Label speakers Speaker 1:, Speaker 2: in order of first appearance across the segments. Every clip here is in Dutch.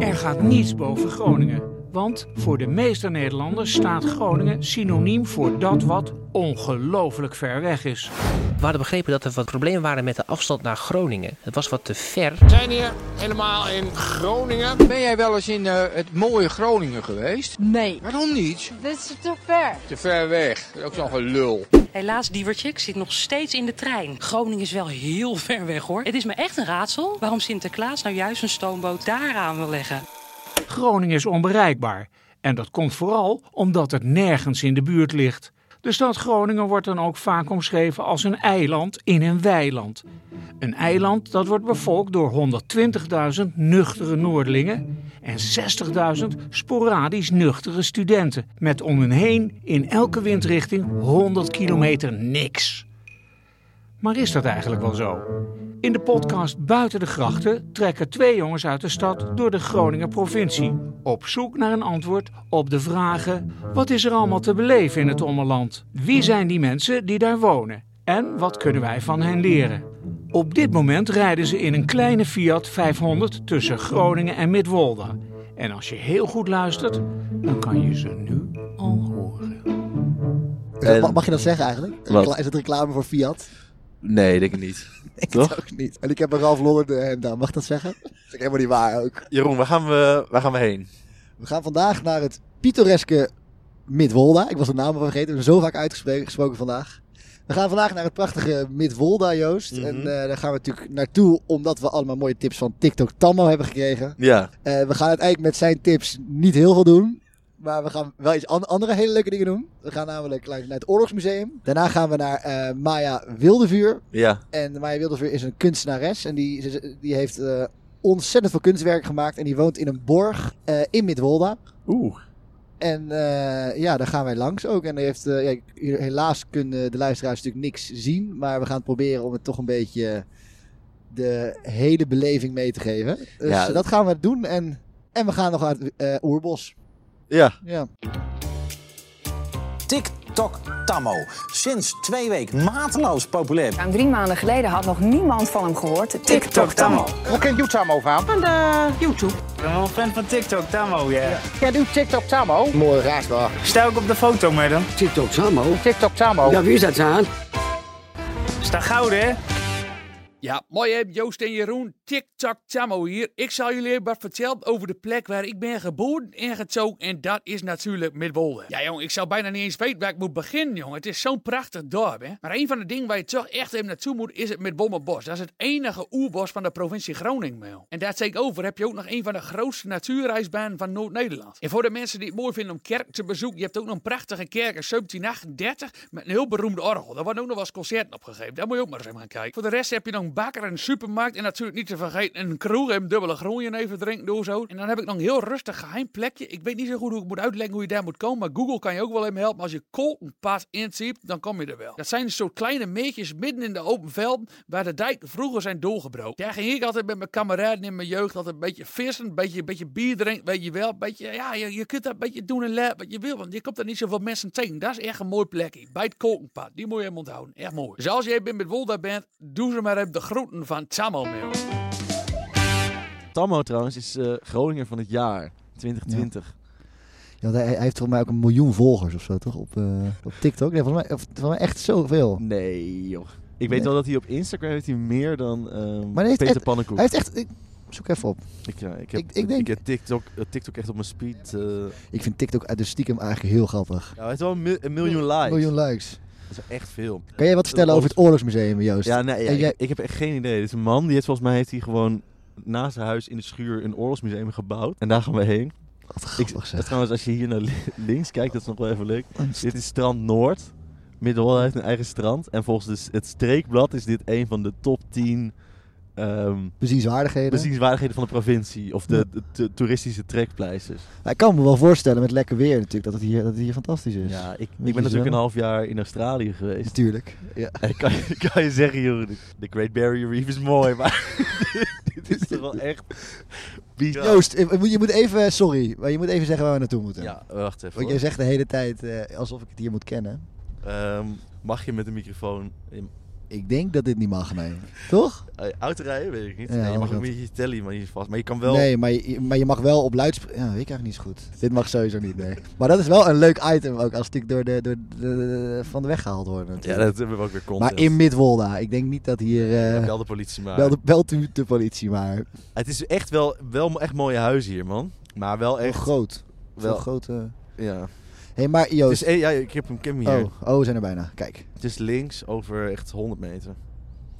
Speaker 1: Er gaat niets boven Groningen, want voor de meeste Nederlanders staat Groningen synoniem voor dat wat ongelooflijk ver weg is.
Speaker 2: We hadden begrepen dat er wat problemen waren met de afstand naar Groningen. Het was wat te ver.
Speaker 3: We zijn hier helemaal in Groningen.
Speaker 4: Ben jij wel eens in eh, het mooie Groningen geweest?
Speaker 5: Nee,
Speaker 4: Waarom niet?
Speaker 5: dit is te ver.
Speaker 4: Te ver weg. Ook zo'n gelul.
Speaker 6: Helaas, Diewertje, ik zit nog steeds in de trein. Groningen is wel heel ver weg hoor. Het is me echt een raadsel waarom Sinterklaas nou juist een stoomboot daaraan wil leggen.
Speaker 1: Groningen is onbereikbaar. En dat komt vooral omdat het nergens in de buurt ligt. De stad Groningen wordt dan ook vaak omschreven als een eiland in een weiland. Een eiland dat wordt bevolkt door 120.000 nuchtere Noordelingen en 60.000 sporadisch nuchtere studenten. Met om hun heen in elke windrichting 100 kilometer niks. Maar is dat eigenlijk wel zo? In de podcast Buiten de Grachten trekken twee jongens uit de stad door de Groninger provincie. Op zoek naar een antwoord op de vragen: wat is er allemaal te beleven in het Ommerland? Wie zijn die mensen die daar wonen? En wat kunnen wij van hen leren? Op dit moment rijden ze in een kleine Fiat 500 tussen Groningen en Midwolda. En als je heel goed luistert, dan kan je ze nu al horen.
Speaker 7: Is dat-
Speaker 8: En-
Speaker 7: mag je dat zeggen eigenlijk?
Speaker 8: Wat?
Speaker 7: Recla- Is het reclame voor Fiat?
Speaker 8: Nee, denk ik niet.
Speaker 7: Ik
Speaker 8: Toch?
Speaker 7: ook niet. En ik heb een Ralf Lauren en daar mag ik dat zeggen? Dat is ook helemaal niet waar ook.
Speaker 8: Jeroen, waar gaan we, waar gaan we heen?
Speaker 7: We gaan vandaag naar het pittoreske Midwolda. Ik was de naam al vergeten, we hebben zo vaak uitgesproken gesproken vandaag. We gaan vandaag naar het prachtige Midwolda, Joost.
Speaker 8: Mhm.
Speaker 7: En eh, daar gaan we natuurlijk naartoe omdat we allemaal mooie tips van TikTok Tammo hebben gekregen.
Speaker 8: Ja,
Speaker 7: Eh, we gaan uiteindelijk met zijn tips niet heel veel doen. Maar we gaan wel iets an- andere hele leuke dingen doen. We gaan namelijk naar het Oorlogsmuseum. Daarna gaan we naar eh, Maya Wildevuur.
Speaker 8: ja.
Speaker 7: En Maya Wildervuur is een kunstenares. En die, ze- die heeft eh, ontzettend veel kunstwerk gemaakt. En die woont in een borg eh, in Midwolda.
Speaker 8: Oeh.
Speaker 7: En eh, ja, daar gaan wij langs ook. En die heeft, eh, ja, helaas kunnen de luisteraars natuurlijk niks zien. Maar we gaan het proberen om het toch een beetje de hele beleving mee te geven. Dus
Speaker 8: Ja.
Speaker 7: dat gaan we doen. En, en we gaan nog naar het eh, oerbos.
Speaker 8: Ja.
Speaker 7: Ja.
Speaker 9: TikTok Tammo. Sinds twee weken mateloos populair.
Speaker 5: Ruim drie maanden geleden had nog niemand van hem gehoord. TikTok Tammo.
Speaker 4: Waar kent u Tammo van? Van de YouTube. Ik ben wel fan van TikTok Tammo, ja. Jij doet TikTok Tammo? Mooi raar wel. Sta ook op de foto, madam. TikTok Tammo? TikTok Tammo. Ja, wie is dat aan?
Speaker 10: Ja, mooi hè, Joost en Jeroen. Tik-tak Tammo hier. Ik zal jullie wat vertellen over de plek waar ik ben geboren en getogen. En dat is natuurlijk Midwolde. Ja, jong, ik zou bijna niet eens weten waar ik moet beginnen, jongen. Het is zo'n prachtig dorp, hè. Maar een van de dingen waar je toch echt even naartoe moet, is het Midwoldenbos. Dat is het enige oerbos van de provincie Groningen, man. En daar tegenover heb je ook nog een van de grootste natuurreisbanen van Noord-Nederland. En voor de mensen die het mooi vinden om kerk te bezoeken, je hebt ook nog een prachtige kerk in 1738 met een heel beroemde orgel. Daar worden ook nog wel eens concerten opgegeven. Daar moet je ook maar eens even gaan kijken. Voor de rest heb je nog een bakker en een supermarkt. En natuurlijk niet te vergeten een kroeg en dubbele groeien even drinken door zo. En dan heb ik nog een heel rustig geheim plekje. Ik weet niet zo goed hoe ik moet uitleggen hoe je daar moet komen. Maar Google kan je ook wel even helpen. Als je Koltenpad intypt, dan kom je er wel. Dat zijn een soort kleine meertjes midden in de open velden waar de dijk vroeger zijn doorgebroken. Daar ging ik altijd met mijn kameraden in mijn jeugd altijd een beetje vissen, een beetje, een beetje bier drinken, weet je wel. Een beetje, ja, je, je kunt dat een beetje doen en laten wat je wil, want je komt er niet zoveel mensen tegen. Dat is echt een mooi plekje, bij het kokenpad. Die moet je hem onthouden, echt mooi. Dus als jij met Wolda bent, doe ze maar even de groeten van Tamalmeel.
Speaker 8: Tammo trouwens is eh, Groninger van het jaar 2020.
Speaker 7: Ja, want hij, hij heeft volgens mij ook een miljoen volgers of zo, toch? Op, eh, op TikTok. Nee, volgens mij, of- volgens mij echt zoveel.
Speaker 8: Nee, joh. Ik weet
Speaker 7: Nee.
Speaker 8: wel dat hij op Instagram heeft hij meer dan
Speaker 7: Maar
Speaker 8: ehm
Speaker 7: hij heeft
Speaker 8: Peter
Speaker 7: echt-
Speaker 8: Pannenkoek.
Speaker 7: Hij heeft echt... Ik, zoek even op.
Speaker 8: Ik, ja, ik, heb,
Speaker 7: ik- ik denk-
Speaker 8: heb TikTok, eh, TikTok echt op mijn speed. eh, nou,
Speaker 7: Ik vind TikTok uit de stiekem eigenlijk heel grappig.
Speaker 8: hij heeft wel een, mi- een miljoen likes.
Speaker 7: Miljoen likes.
Speaker 8: Dat is echt veel.
Speaker 7: Kan jij wat vertellen over het Oorlogsmuseum, Joost?
Speaker 8: Ja, nee, ja,
Speaker 7: En jij-
Speaker 8: ik, ik heb echt geen idee. Dit is een man, die heeft volgens mij heeft hij gewoon naast zijn huis in de schuur een oorlogsmuseum gebouwd. En daar gaan we heen.
Speaker 7: Wat
Speaker 8: Ik,
Speaker 7: grappig
Speaker 8: dat
Speaker 7: zeg.
Speaker 8: trouwens, als je hier naar li- links kijkt, dat is nog wel even leuk. Dit is Strand Noord. Middenholland heeft een eigen strand. En volgens de s- het Streekblad is dit een van de top 10 ehm
Speaker 7: Bezienswaardigheden.
Speaker 8: bezienswaardigheden van de provincie. Of de, de to- toeristische trekpleisters.
Speaker 7: Maar ik kan me wel voorstellen met lekker weer natuurlijk dat het hier, dat het hier fantastisch is.
Speaker 8: Ja, ik, ik
Speaker 7: Weet je
Speaker 8: ben
Speaker 7: zelf?
Speaker 8: natuurlijk een half jaar in Australië geweest.
Speaker 7: Natuurlijk. Ja.
Speaker 8: En kan, je- kan je zeggen, joh, de- de Great Barrier Reef is mooi, maar dit is toch wel echt bizar.
Speaker 7: Joost, eh, je moet even, sorry, maar je moet even zeggen waar we naartoe moeten.
Speaker 8: Ja, wacht even.
Speaker 7: Want
Speaker 8: hoor.
Speaker 7: jij zegt de hele tijd eh, alsof ik het hier moet kennen.
Speaker 8: Ehm, mag je met een microfoon in
Speaker 7: Ik denk dat dit niet mag, nee. Toch?
Speaker 8: eh, auto rijden? Weet ik niet.
Speaker 7: Ja,
Speaker 8: Nee, je mag
Speaker 7: dat-
Speaker 8: ook niet je telly maar je, vast. Maar je kan wel...
Speaker 7: Nee, maar je, maar je mag wel op luidspreker... Ja, dat weet ik eigenlijk niet zo goed. Dit mag sowieso niet, nee. Maar dat is wel een leuk item ook als het door de, door de, de- van de weg gehaald wordt
Speaker 8: Ja,
Speaker 7: natuurlijk.
Speaker 8: dat hebben we ook weer content.
Speaker 7: maar in Midwolda. Ik denk niet dat hier... eh,
Speaker 8: Bel de politie maar.
Speaker 7: Bel de, belt u de politie maar.
Speaker 8: Het is echt wel, wel echt mooie huizen hier, man. Maar wel
Speaker 7: Echt
Speaker 8: echt...
Speaker 7: groot. Wel
Speaker 8: Wel-
Speaker 7: groot. eh.
Speaker 8: Ja.
Speaker 7: hey, maar Joost.
Speaker 8: Dus, eh, ja, ik heb hem ik heb hem hier.
Speaker 7: oh, oh, we zijn er bijna. Kijk.
Speaker 8: Het is links over echt 100 meter.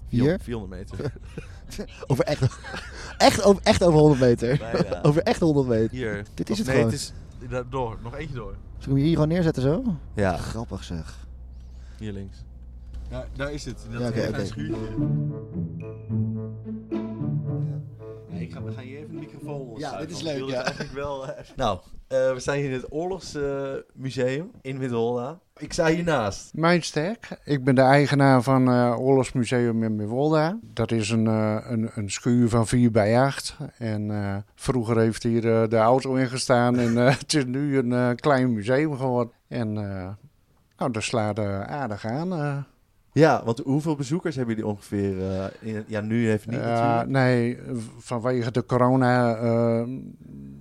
Speaker 7: Hier?
Speaker 8: 400 meter.
Speaker 7: Over echt, echt, over, echt over 100 meter.
Speaker 8: Bijna.
Speaker 7: over echt 100 meter.
Speaker 8: Hier.
Speaker 7: Dit
Speaker 8: Of
Speaker 7: is het
Speaker 8: nee,
Speaker 7: gewoon.
Speaker 8: het is... daar- Door. Nog eentje door.
Speaker 7: Zullen we hem hier gewoon neerzetten zo?
Speaker 8: Ja.
Speaker 7: Grappig zeg.
Speaker 8: Hier links. Ja, daar is het. Dat
Speaker 7: Ja, oké, is een oké.
Speaker 8: ik ga, we gaan hier even de microfoon
Speaker 7: Ja, dit is leuk, ja.
Speaker 8: wel, eh, even- nou, eh, we zijn hier in het Oorlogsmuseum in Middelholland. Ik sta hiernaast.
Speaker 3: Mijn sterk. Ik ben de eigenaar van eh Oorlogsmuseum in Miwolda. Dat is een, eh, een, een schuur van 4 bij 8. En eh, vroeger heeft hier eh, de auto in gestaan. En eh, het is nu een eh, klein museum geworden. En eh, nou, dat slaat eh, aardig aan. eh.
Speaker 8: Ja, want hoeveel bezoekers hebben jullie ongeveer? eh, in, ja, nu even niet
Speaker 3: Ja,
Speaker 8: natuurlijk.
Speaker 3: nee, v- vanwege de corona eh,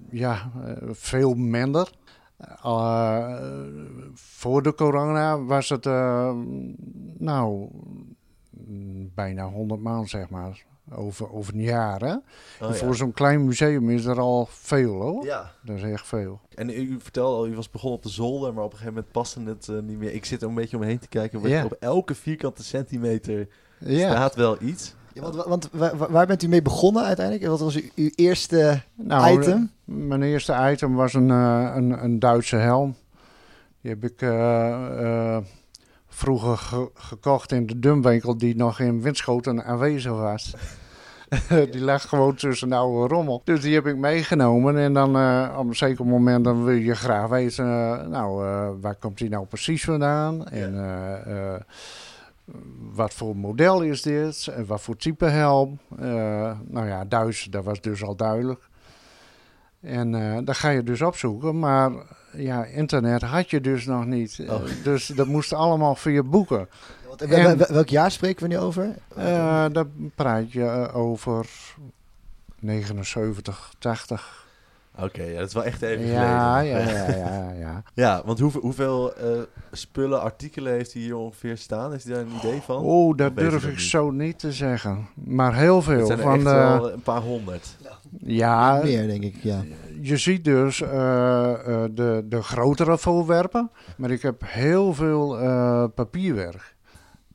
Speaker 3: ja, eh, veel minder. Eh, voor de corona was het eh, nou mm, bijna 100 maanden, zeg maar, over, over een jaar. Hè?
Speaker 8: Oh, ja.
Speaker 3: Voor zo'n klein museum is er al veel hoor.
Speaker 8: Ja.
Speaker 3: Dat is echt veel.
Speaker 8: En u vertelde al, u was begonnen op de zolder, maar op een gegeven moment paste het eh, niet meer. Ik zit er een beetje omheen te kijken. want
Speaker 3: Ja.
Speaker 8: Op elke vierkante centimeter
Speaker 3: Ja.
Speaker 8: staat wel iets.
Speaker 7: Ja, want want waar, waar- waar bent u mee begonnen uiteindelijk? Wat was uw, uw eerste
Speaker 3: Nou,
Speaker 7: item?
Speaker 3: eh, Mijn eerste item was een, eh, een, een Duitse helm. Die heb ik eh, eh, vroeger ge- gekocht in de dumwinkel die nog in Winschoten aanwezig was. die lag gewoon tussen de oude rommel. Dus die heb ik meegenomen. En dan eh, op een zeker moment dan wil je graag weten... eh, nou, eh, waar komt die nou precies vandaan? En eh, eh, wat voor model is dit? En wat voor type helm? Eh, nou ja, Duits, dat was dus al duidelijk. En eh dat ga je dus opzoeken, maar ja, internet had je dus nog niet. Eh, Dus dat moest allemaal via boeken.
Speaker 7: Want, eh, wel-
Speaker 3: en-
Speaker 7: wel- welk jaar spreken we nu over?
Speaker 3: Eh daar praat je eh, over 79, 80.
Speaker 8: Oké, ja, dat is wel echt even
Speaker 3: Ja,
Speaker 8: geleden.
Speaker 3: ja, ja, ja, ja.
Speaker 8: Ja, want hoeveel, hoeveel eh, spullen, artikelen heeft hij hier ongeveer staan? Heeft hij daar een idee van?
Speaker 3: Oh, dat
Speaker 8: Of weet je
Speaker 3: durf
Speaker 8: dat
Speaker 3: ik
Speaker 8: niet?
Speaker 3: zo niet te zeggen. Maar heel
Speaker 8: Het
Speaker 3: veel. eh,
Speaker 8: zijn er
Speaker 3: van
Speaker 8: echt
Speaker 3: de-
Speaker 8: wel een paar honderd.
Speaker 3: ja,
Speaker 7: Meer, denk ik, ja.
Speaker 3: je ziet dus eh, eh, de, de grotere voorwerpen, maar ik heb heel veel eh, papierwerk.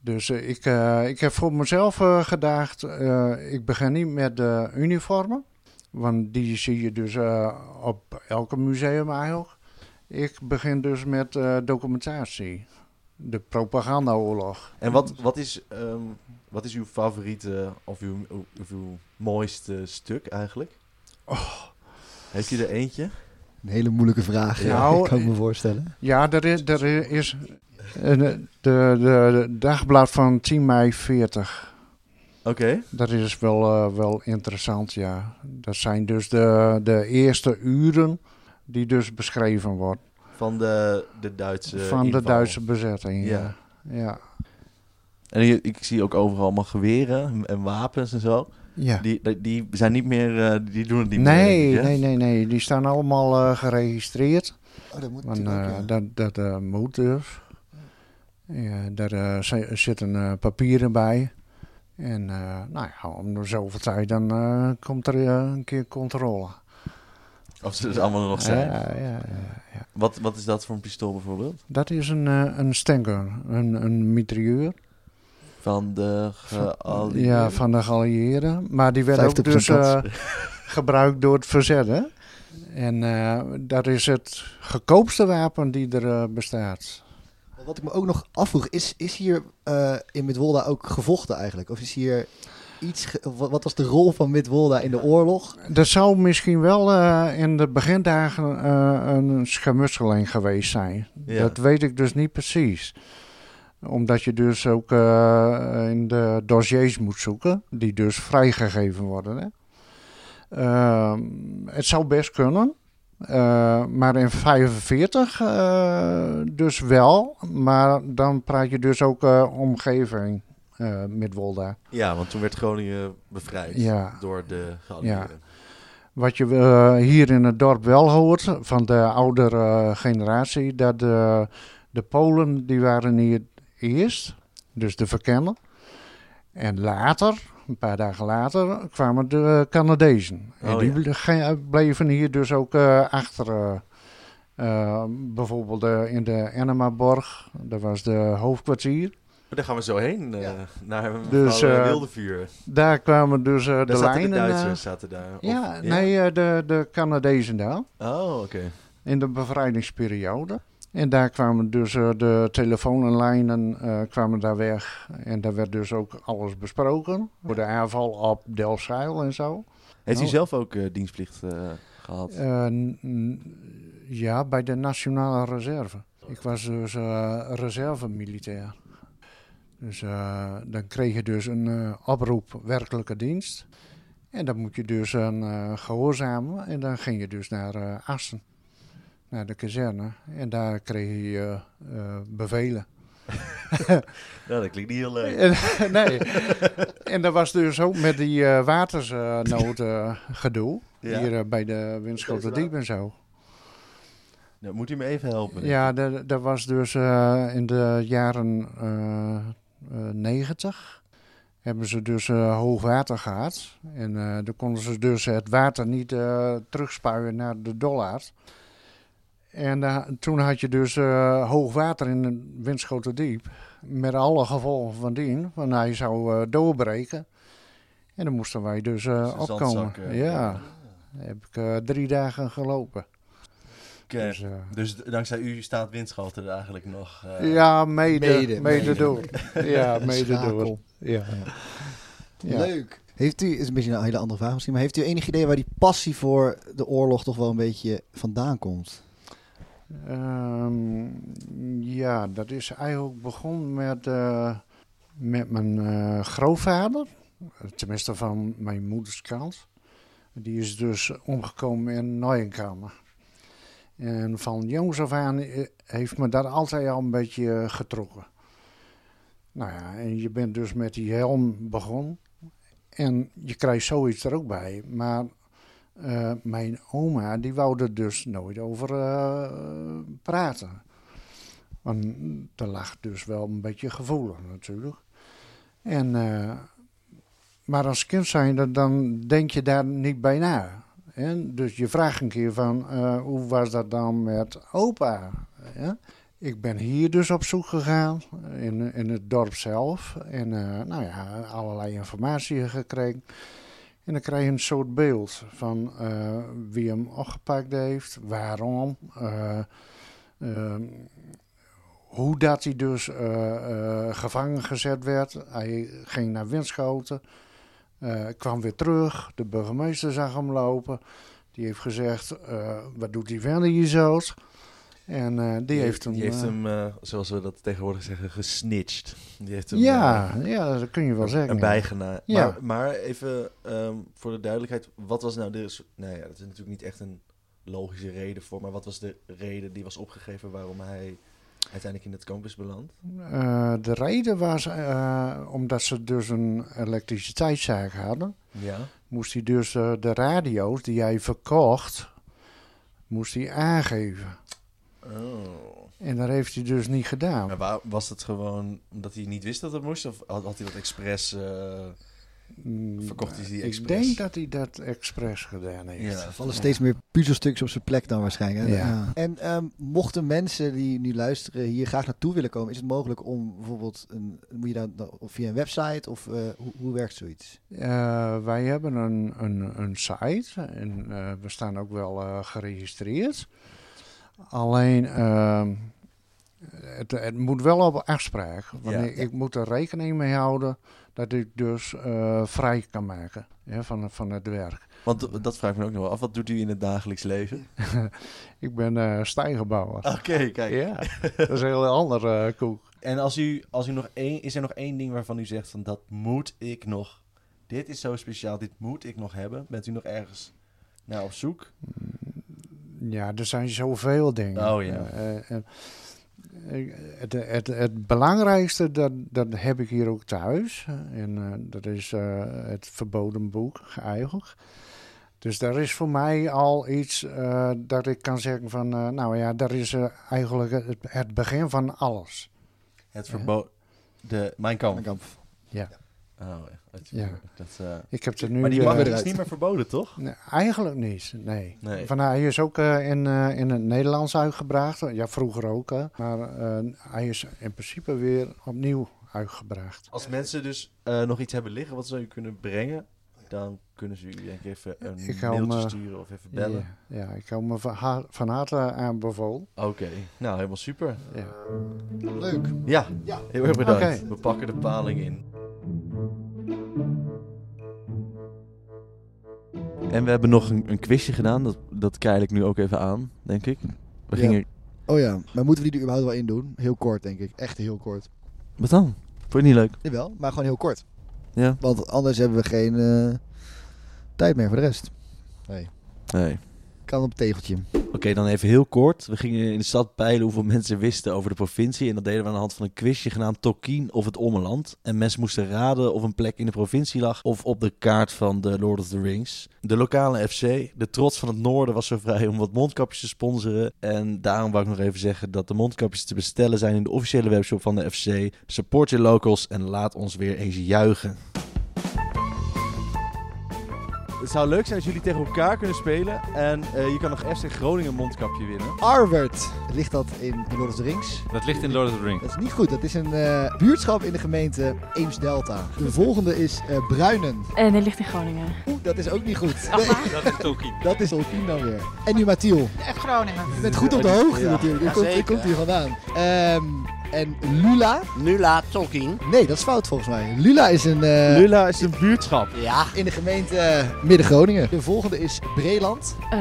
Speaker 3: Dus eh, ik, eh, ik heb voor mezelf eh, gedacht, eh, ik begin niet met de uniformen, want die zie je dus eh, op elke museum eigenlijk. Ik begin dus met eh, documentatie, de propagandaoorlog.
Speaker 8: En wat, wat, is, ehm, wat is uw favoriete of uw, of uw mooiste stuk eigenlijk?
Speaker 3: Oh.
Speaker 8: Heeft u er eentje?
Speaker 7: Een hele moeilijke vraag, ja,
Speaker 3: Nou,
Speaker 7: kan ik me voorstellen.
Speaker 3: Ja, er is, er is eh, de, de, de dagblad van 10 mei 40.
Speaker 8: Oké.
Speaker 3: Dat is wel, eh, wel interessant, ja. Dat zijn dus de, de eerste uren die dus beschreven wordt
Speaker 8: Van de, de Duitse
Speaker 3: van de
Speaker 8: inval.
Speaker 3: Duitse bezetting. Ja.
Speaker 8: Ja.
Speaker 3: Ja.
Speaker 8: En hier- ik zie ook overal allemaal geweren en wapens en zo.
Speaker 3: ja.
Speaker 8: Die, die- die zijn niet meer, eh, die doen het niet meer.
Speaker 3: Nee,
Speaker 8: denk ik, hè?
Speaker 3: nee, nee, nee. Die staan allemaal eh, geregistreerd.
Speaker 7: Oh, dat moet
Speaker 3: Want
Speaker 7: natuurlijk ook,
Speaker 3: eh,
Speaker 7: ja.
Speaker 3: dat, dat eh, moet dus. Ja, daar eh, zi- zitten eh, papieren bij. En eh, nou ja, om de zoveel tijd dan eh, komt er eh, een keer controle.
Speaker 8: Of ze er allemaal nog zijn.
Speaker 3: Ja, ja, ja.
Speaker 8: Wat, wat is dat voor een pistool bijvoorbeeld?
Speaker 3: Dat is een, eh, een stenker, een, een mitrailleur.
Speaker 8: Van de geallieerden?
Speaker 3: Ja, van de geallieerden. Maar die werd ook
Speaker 7: 50%
Speaker 3: dus
Speaker 7: kans.
Speaker 3: eh, gebruikt door het verzet. Hè? En eh, dat is het goedkoopste wapen die er eh, bestaat.
Speaker 7: Wat ik me ook nog afvroeg, is, is hier eh, in Midwolda ook gevochten eigenlijk? Of is hier iets... ge- wat, wat was de rol van Midwolda in de oorlog?
Speaker 3: Dat zou misschien wel eh, in de begindagen eh, een schermutseling geweest zijn.
Speaker 8: Ja.
Speaker 3: Dat weet ik dus niet precies. Omdat je dus ook eh, in de dossiers moet zoeken, die dus vrijgegeven worden. Hè? Ehm, het zou best kunnen, Eh, maar in 45 eh, dus wel. Maar dan praat je dus ook eh, omgeving eh Midwolda.
Speaker 8: Ja, want toen werd Groningen bevrijd
Speaker 3: Ja.
Speaker 8: door de
Speaker 3: Ja. Wat je eh, hier in het dorp wel hoort van de oudere eh, generatie, dat de, de Polen die waren hier eerst, dus de verkennen. En later, een paar dagen later, kwamen de Canadezen. en
Speaker 8: Oh,
Speaker 3: die
Speaker 8: ja.
Speaker 3: ble- ge- bleven hier dus ook eh, achter. eh, eh, bijvoorbeeld eh, in de Ennemaborg, dat was de hoofdkwartier.
Speaker 8: Maar daar gaan we zo heen, eh, naar
Speaker 3: Dus,
Speaker 8: dus, uh,
Speaker 3: eh,
Speaker 8: Wildevuur.
Speaker 3: Daar kwamen dus eh, de
Speaker 8: Daar zaten
Speaker 3: lijnen.
Speaker 8: de
Speaker 3: eh,
Speaker 8: Duitsers zaten daar. Of-
Speaker 3: ja, nee, eh, de, de Canadezen daar.
Speaker 8: Oh, oké.
Speaker 3: in de bevrijdingsperiode. En daar kwamen dus eh, de telefoonlijnen eh, kwamen daar weg. En daar werd dus ook alles besproken. Voor de aanval op Delfzijl en zo.
Speaker 8: Heeft u
Speaker 3: Nou.
Speaker 8: zelf ook eh, dienstplicht eh, gehad?
Speaker 3: Eh, n- n- ja, bij de Nationale Reserve. Ik was dus eh reservemilitair. Dus eh, dan kreeg je dus een eh, oproep werkelijke dienst. En dan moet je dus aan eh, gehoorzamen. En dan ging je dus naar eh Assen, naar de kazerne. En daar kreeg je eh, eh, bevelen.
Speaker 8: Nou, dat klinkt niet heel leuk.
Speaker 3: En- nee. En dat was dus ook met die eh watersnood gedoe.
Speaker 8: Ja.
Speaker 3: Hier eh, bij de Winschoterdiep en zo.
Speaker 8: Nou, moet u me even helpen?
Speaker 3: Ja, dat, dat was dus eh, in de jaren eh, negentig. hebben ze dus eh, hoog water gehad. En eh, dan konden ze dus het water niet eh, terugspuien naar de dollar. En eh, toen had je dus eh, hoog water in de Winschoterdiep. Met alle gevolgen van dien. Want hij zou eh, doorbreken. En dan moesten wij dus eh,
Speaker 8: Dus de
Speaker 3: opkomen.
Speaker 8: zandzak, eh,
Speaker 3: ja. Heb ik eh, drie dagen gelopen.
Speaker 8: Oké.
Speaker 3: Dus, eh,
Speaker 8: Dus d- dankzij u staat Winschoten er eigenlijk nog. eh,
Speaker 3: ja, mede,
Speaker 7: mede,
Speaker 3: mede,
Speaker 7: mede.
Speaker 3: door. Ja, mede
Speaker 7: Schakel.
Speaker 3: door. Ja. Ja.
Speaker 7: Leuk. Heeft u, is een beetje een hele andere vraag misschien, maar heeft u enig idee waar die passie voor de oorlog toch wel een beetje vandaan komt?
Speaker 3: Ehm, ja, dat is eigenlijk begonnen met, eh, met mijn eh, grootvader. Tenminste van mijn moeders kant. Die is dus omgekomen in Neuenkamer. En van jongs af aan eh, heeft me dat altijd al een beetje eh, getrokken. Nou ja, en je bent dus met die helm begonnen. En je krijgt zoiets er ook bij. Maar eh, mijn oma, die wou er dus nooit over eh, praten. Want er lag dus wel een beetje gevoelig natuurlijk. En, eh, maar als kind zijnde, dan denk je daar niet bij na. hè? dus je vraagt een keer van, eh, hoe was dat dan met opa? hè? Ik ben hier dus op zoek gegaan, in, in het dorp zelf. En eh, nou ja, allerlei informatie gekregen. En dan krijg je een soort beeld van eh, wie hem opgepakt heeft, waarom, eh, ehm, hoe dat hij dus eh, eh, gevangen gezet werd. Hij ging naar Winschoten, eh, kwam weer terug, de burgemeester zag hem lopen. Die heeft gezegd, eh, wat doet die verder hier zo? En eh, die, heeft hem... eh,
Speaker 8: eh, zoals we dat tegenwoordig zeggen, gesnitcht. Die heeft hem,
Speaker 3: ja,
Speaker 8: eh,
Speaker 3: ja, dat kun je wel zeggen.
Speaker 8: een
Speaker 3: ja.
Speaker 8: bijgena.
Speaker 3: Ja.
Speaker 8: Maar, maar even ehm, voor de duidelijkheid, wat was nou de... s- Nou ja, dat is natuurlijk niet echt een logische reden voor, maar wat was de reden die was opgegeven waarom hij uiteindelijk in het kamp is beland?
Speaker 3: Eh, de reden was eh, omdat ze dus een elektriciteitszaak hadden.
Speaker 8: Ja.
Speaker 3: moest hij dus eh, de radio's die hij verkocht, moest hij aangeven.
Speaker 8: Oh.
Speaker 3: En dat heeft hij dus niet gedaan.
Speaker 8: Maar waar, was het gewoon omdat hij niet wist dat het moest? Of had, had hij dat expres... eh,
Speaker 3: Mm,
Speaker 8: verkocht hij die
Speaker 3: Ik
Speaker 8: expres?
Speaker 3: denk dat hij dat expres gedaan heeft.
Speaker 8: Ja.
Speaker 7: Vallen steeds meer puzzelstukjes op zijn plek dan waarschijnlijk. hè?
Speaker 3: Ja.
Speaker 7: En ehm, mochten mensen die nu luisteren hier graag naartoe willen komen, is het mogelijk om bijvoorbeeld een, moet je dan dan- of via een website of eh, hoe, hoe werkt zoiets?
Speaker 3: Eh, wij hebben een, een, een site en eh, we staan ook wel eh, geregistreerd. Alleen, ehm, het, het moet wel op afspraak. Want
Speaker 8: Ja.
Speaker 3: ik, ik moet er rekening mee houden dat ik dus eh, vrij kan maken hè, van, van het werk.
Speaker 8: Want d- dat vraag ik me ook nog wel af. Wat doet u in het dagelijks leven?
Speaker 3: Ik ben eh stijgerbouwer.
Speaker 8: Oké, kijk.
Speaker 3: Ja, dat is een heel andere koek.
Speaker 8: En als u, als u nog één, is er nog één ding waarvan u zegt van dat moet ik nog. Dit is zo speciaal, dit moet ik nog hebben. Bent u nog ergens naar op zoek?
Speaker 3: Ja, er zijn zoveel dingen.
Speaker 8: Oh, ja.
Speaker 3: Eh, eh, eh, het, het, het belangrijkste, dat, dat heb ik hier ook thuis. En eh, dat is eh, het verboden boek eigenlijk. Dus daar is voor mij al iets eh, dat ik kan zeggen van... eh, nou ja, dat is eh, eigenlijk het, het begin van alles.
Speaker 8: Het
Speaker 3: Ja.
Speaker 8: verboden... De... Mijn kamp.
Speaker 3: Ja.
Speaker 8: Oh, ja. Dat-
Speaker 3: Ja.
Speaker 8: Dat, eh,
Speaker 3: Ik heb er nu...
Speaker 8: maar die
Speaker 3: eh,
Speaker 8: mag is niet meer verboden, toch?
Speaker 3: Nee, eigenlijk niet, nee.
Speaker 8: Nee.
Speaker 3: Van, hij is ook eh, in, eh, in het Nederlands uitgebracht. Ja, vroeger ook. hè. Maar eh, hij is in principe weer opnieuw uitgebracht.
Speaker 8: Als mensen dus eh, nog iets hebben liggen wat ze u kunnen brengen, dan kunnen ze u denk ik even een
Speaker 3: Ik eh, hou
Speaker 8: mailtje
Speaker 3: me-
Speaker 8: sturen of even bellen.
Speaker 3: Ja, ja, ik hou me van, ha- van harte aanbevolen.
Speaker 8: Oké, nou helemaal super.
Speaker 3: Ja.
Speaker 7: Leuk.
Speaker 8: Ja,
Speaker 7: Ja.
Speaker 8: heel erg bedankt.
Speaker 3: Oké.
Speaker 8: We pakken de paling in. En we hebben nog een, een quizje gedaan, dat, dat keil ik nu ook even aan, denk ik. We
Speaker 7: Ja.
Speaker 8: gingen...
Speaker 7: Oh ja, maar moeten we die er überhaupt wel in doen? Heel kort, denk ik. Echt heel kort.
Speaker 8: Wat dan? Vond je het niet leuk?
Speaker 7: Jawel, maar gewoon heel kort.
Speaker 8: Ja?
Speaker 7: Want anders hebben we geen eh, tijd meer voor de rest.
Speaker 8: Nee.
Speaker 7: Kan op het tegeltje.
Speaker 8: Oké, dan even heel kort. We gingen in de stad peilen hoeveel mensen wisten over de provincie. En dat deden we aan de hand van een quizje genaamd Tolkien of het Ommeland. En mensen moesten raden of een plek in de provincie lag of op de kaart van de Lord of the Rings. De lokale FC, de trots van het noorden, was zo vrij om wat mondkapjes te sponsoren. En daarom wou ik nog even zeggen dat de mondkapjes te bestellen zijn in de officiële webshop van de FC. Support je locals en laat ons weer eens juichen. Het zou leuk zijn als jullie tegen elkaar kunnen spelen. En eh, je kan nog FC Groningen mondkapje winnen.
Speaker 7: Arwert. Ligt dat in Lord of the Rings?
Speaker 11: Dat ligt in Lord of the Rings.
Speaker 7: Dat is niet goed. Dat is een eh, buurtschap in de gemeente Eems-Delta. De volgende is eh, Bruinen.
Speaker 12: En dat ligt in Groningen.
Speaker 7: Oeh, dat is ook niet goed.
Speaker 12: Ach,
Speaker 7: Nee,
Speaker 12: waar?
Speaker 11: Dat is Tolkien.
Speaker 7: dat is Olkien dan weer. En nu Mathiel.
Speaker 5: Eh,
Speaker 12: Groningen.
Speaker 7: Je bent goed op de hoogte
Speaker 4: Ja.
Speaker 7: natuurlijk. Je komt, je
Speaker 4: Jazeker.
Speaker 7: komt hier vandaan. Ehm, en Lula?
Speaker 4: Lula Tolkien.
Speaker 7: Nee, dat is fout volgens mij. Lula is een... eh,
Speaker 8: Lula is een buurtschap.
Speaker 4: Ja.
Speaker 7: In de gemeente eh, Midden-Groningen. De volgende is Breland.
Speaker 12: Eh,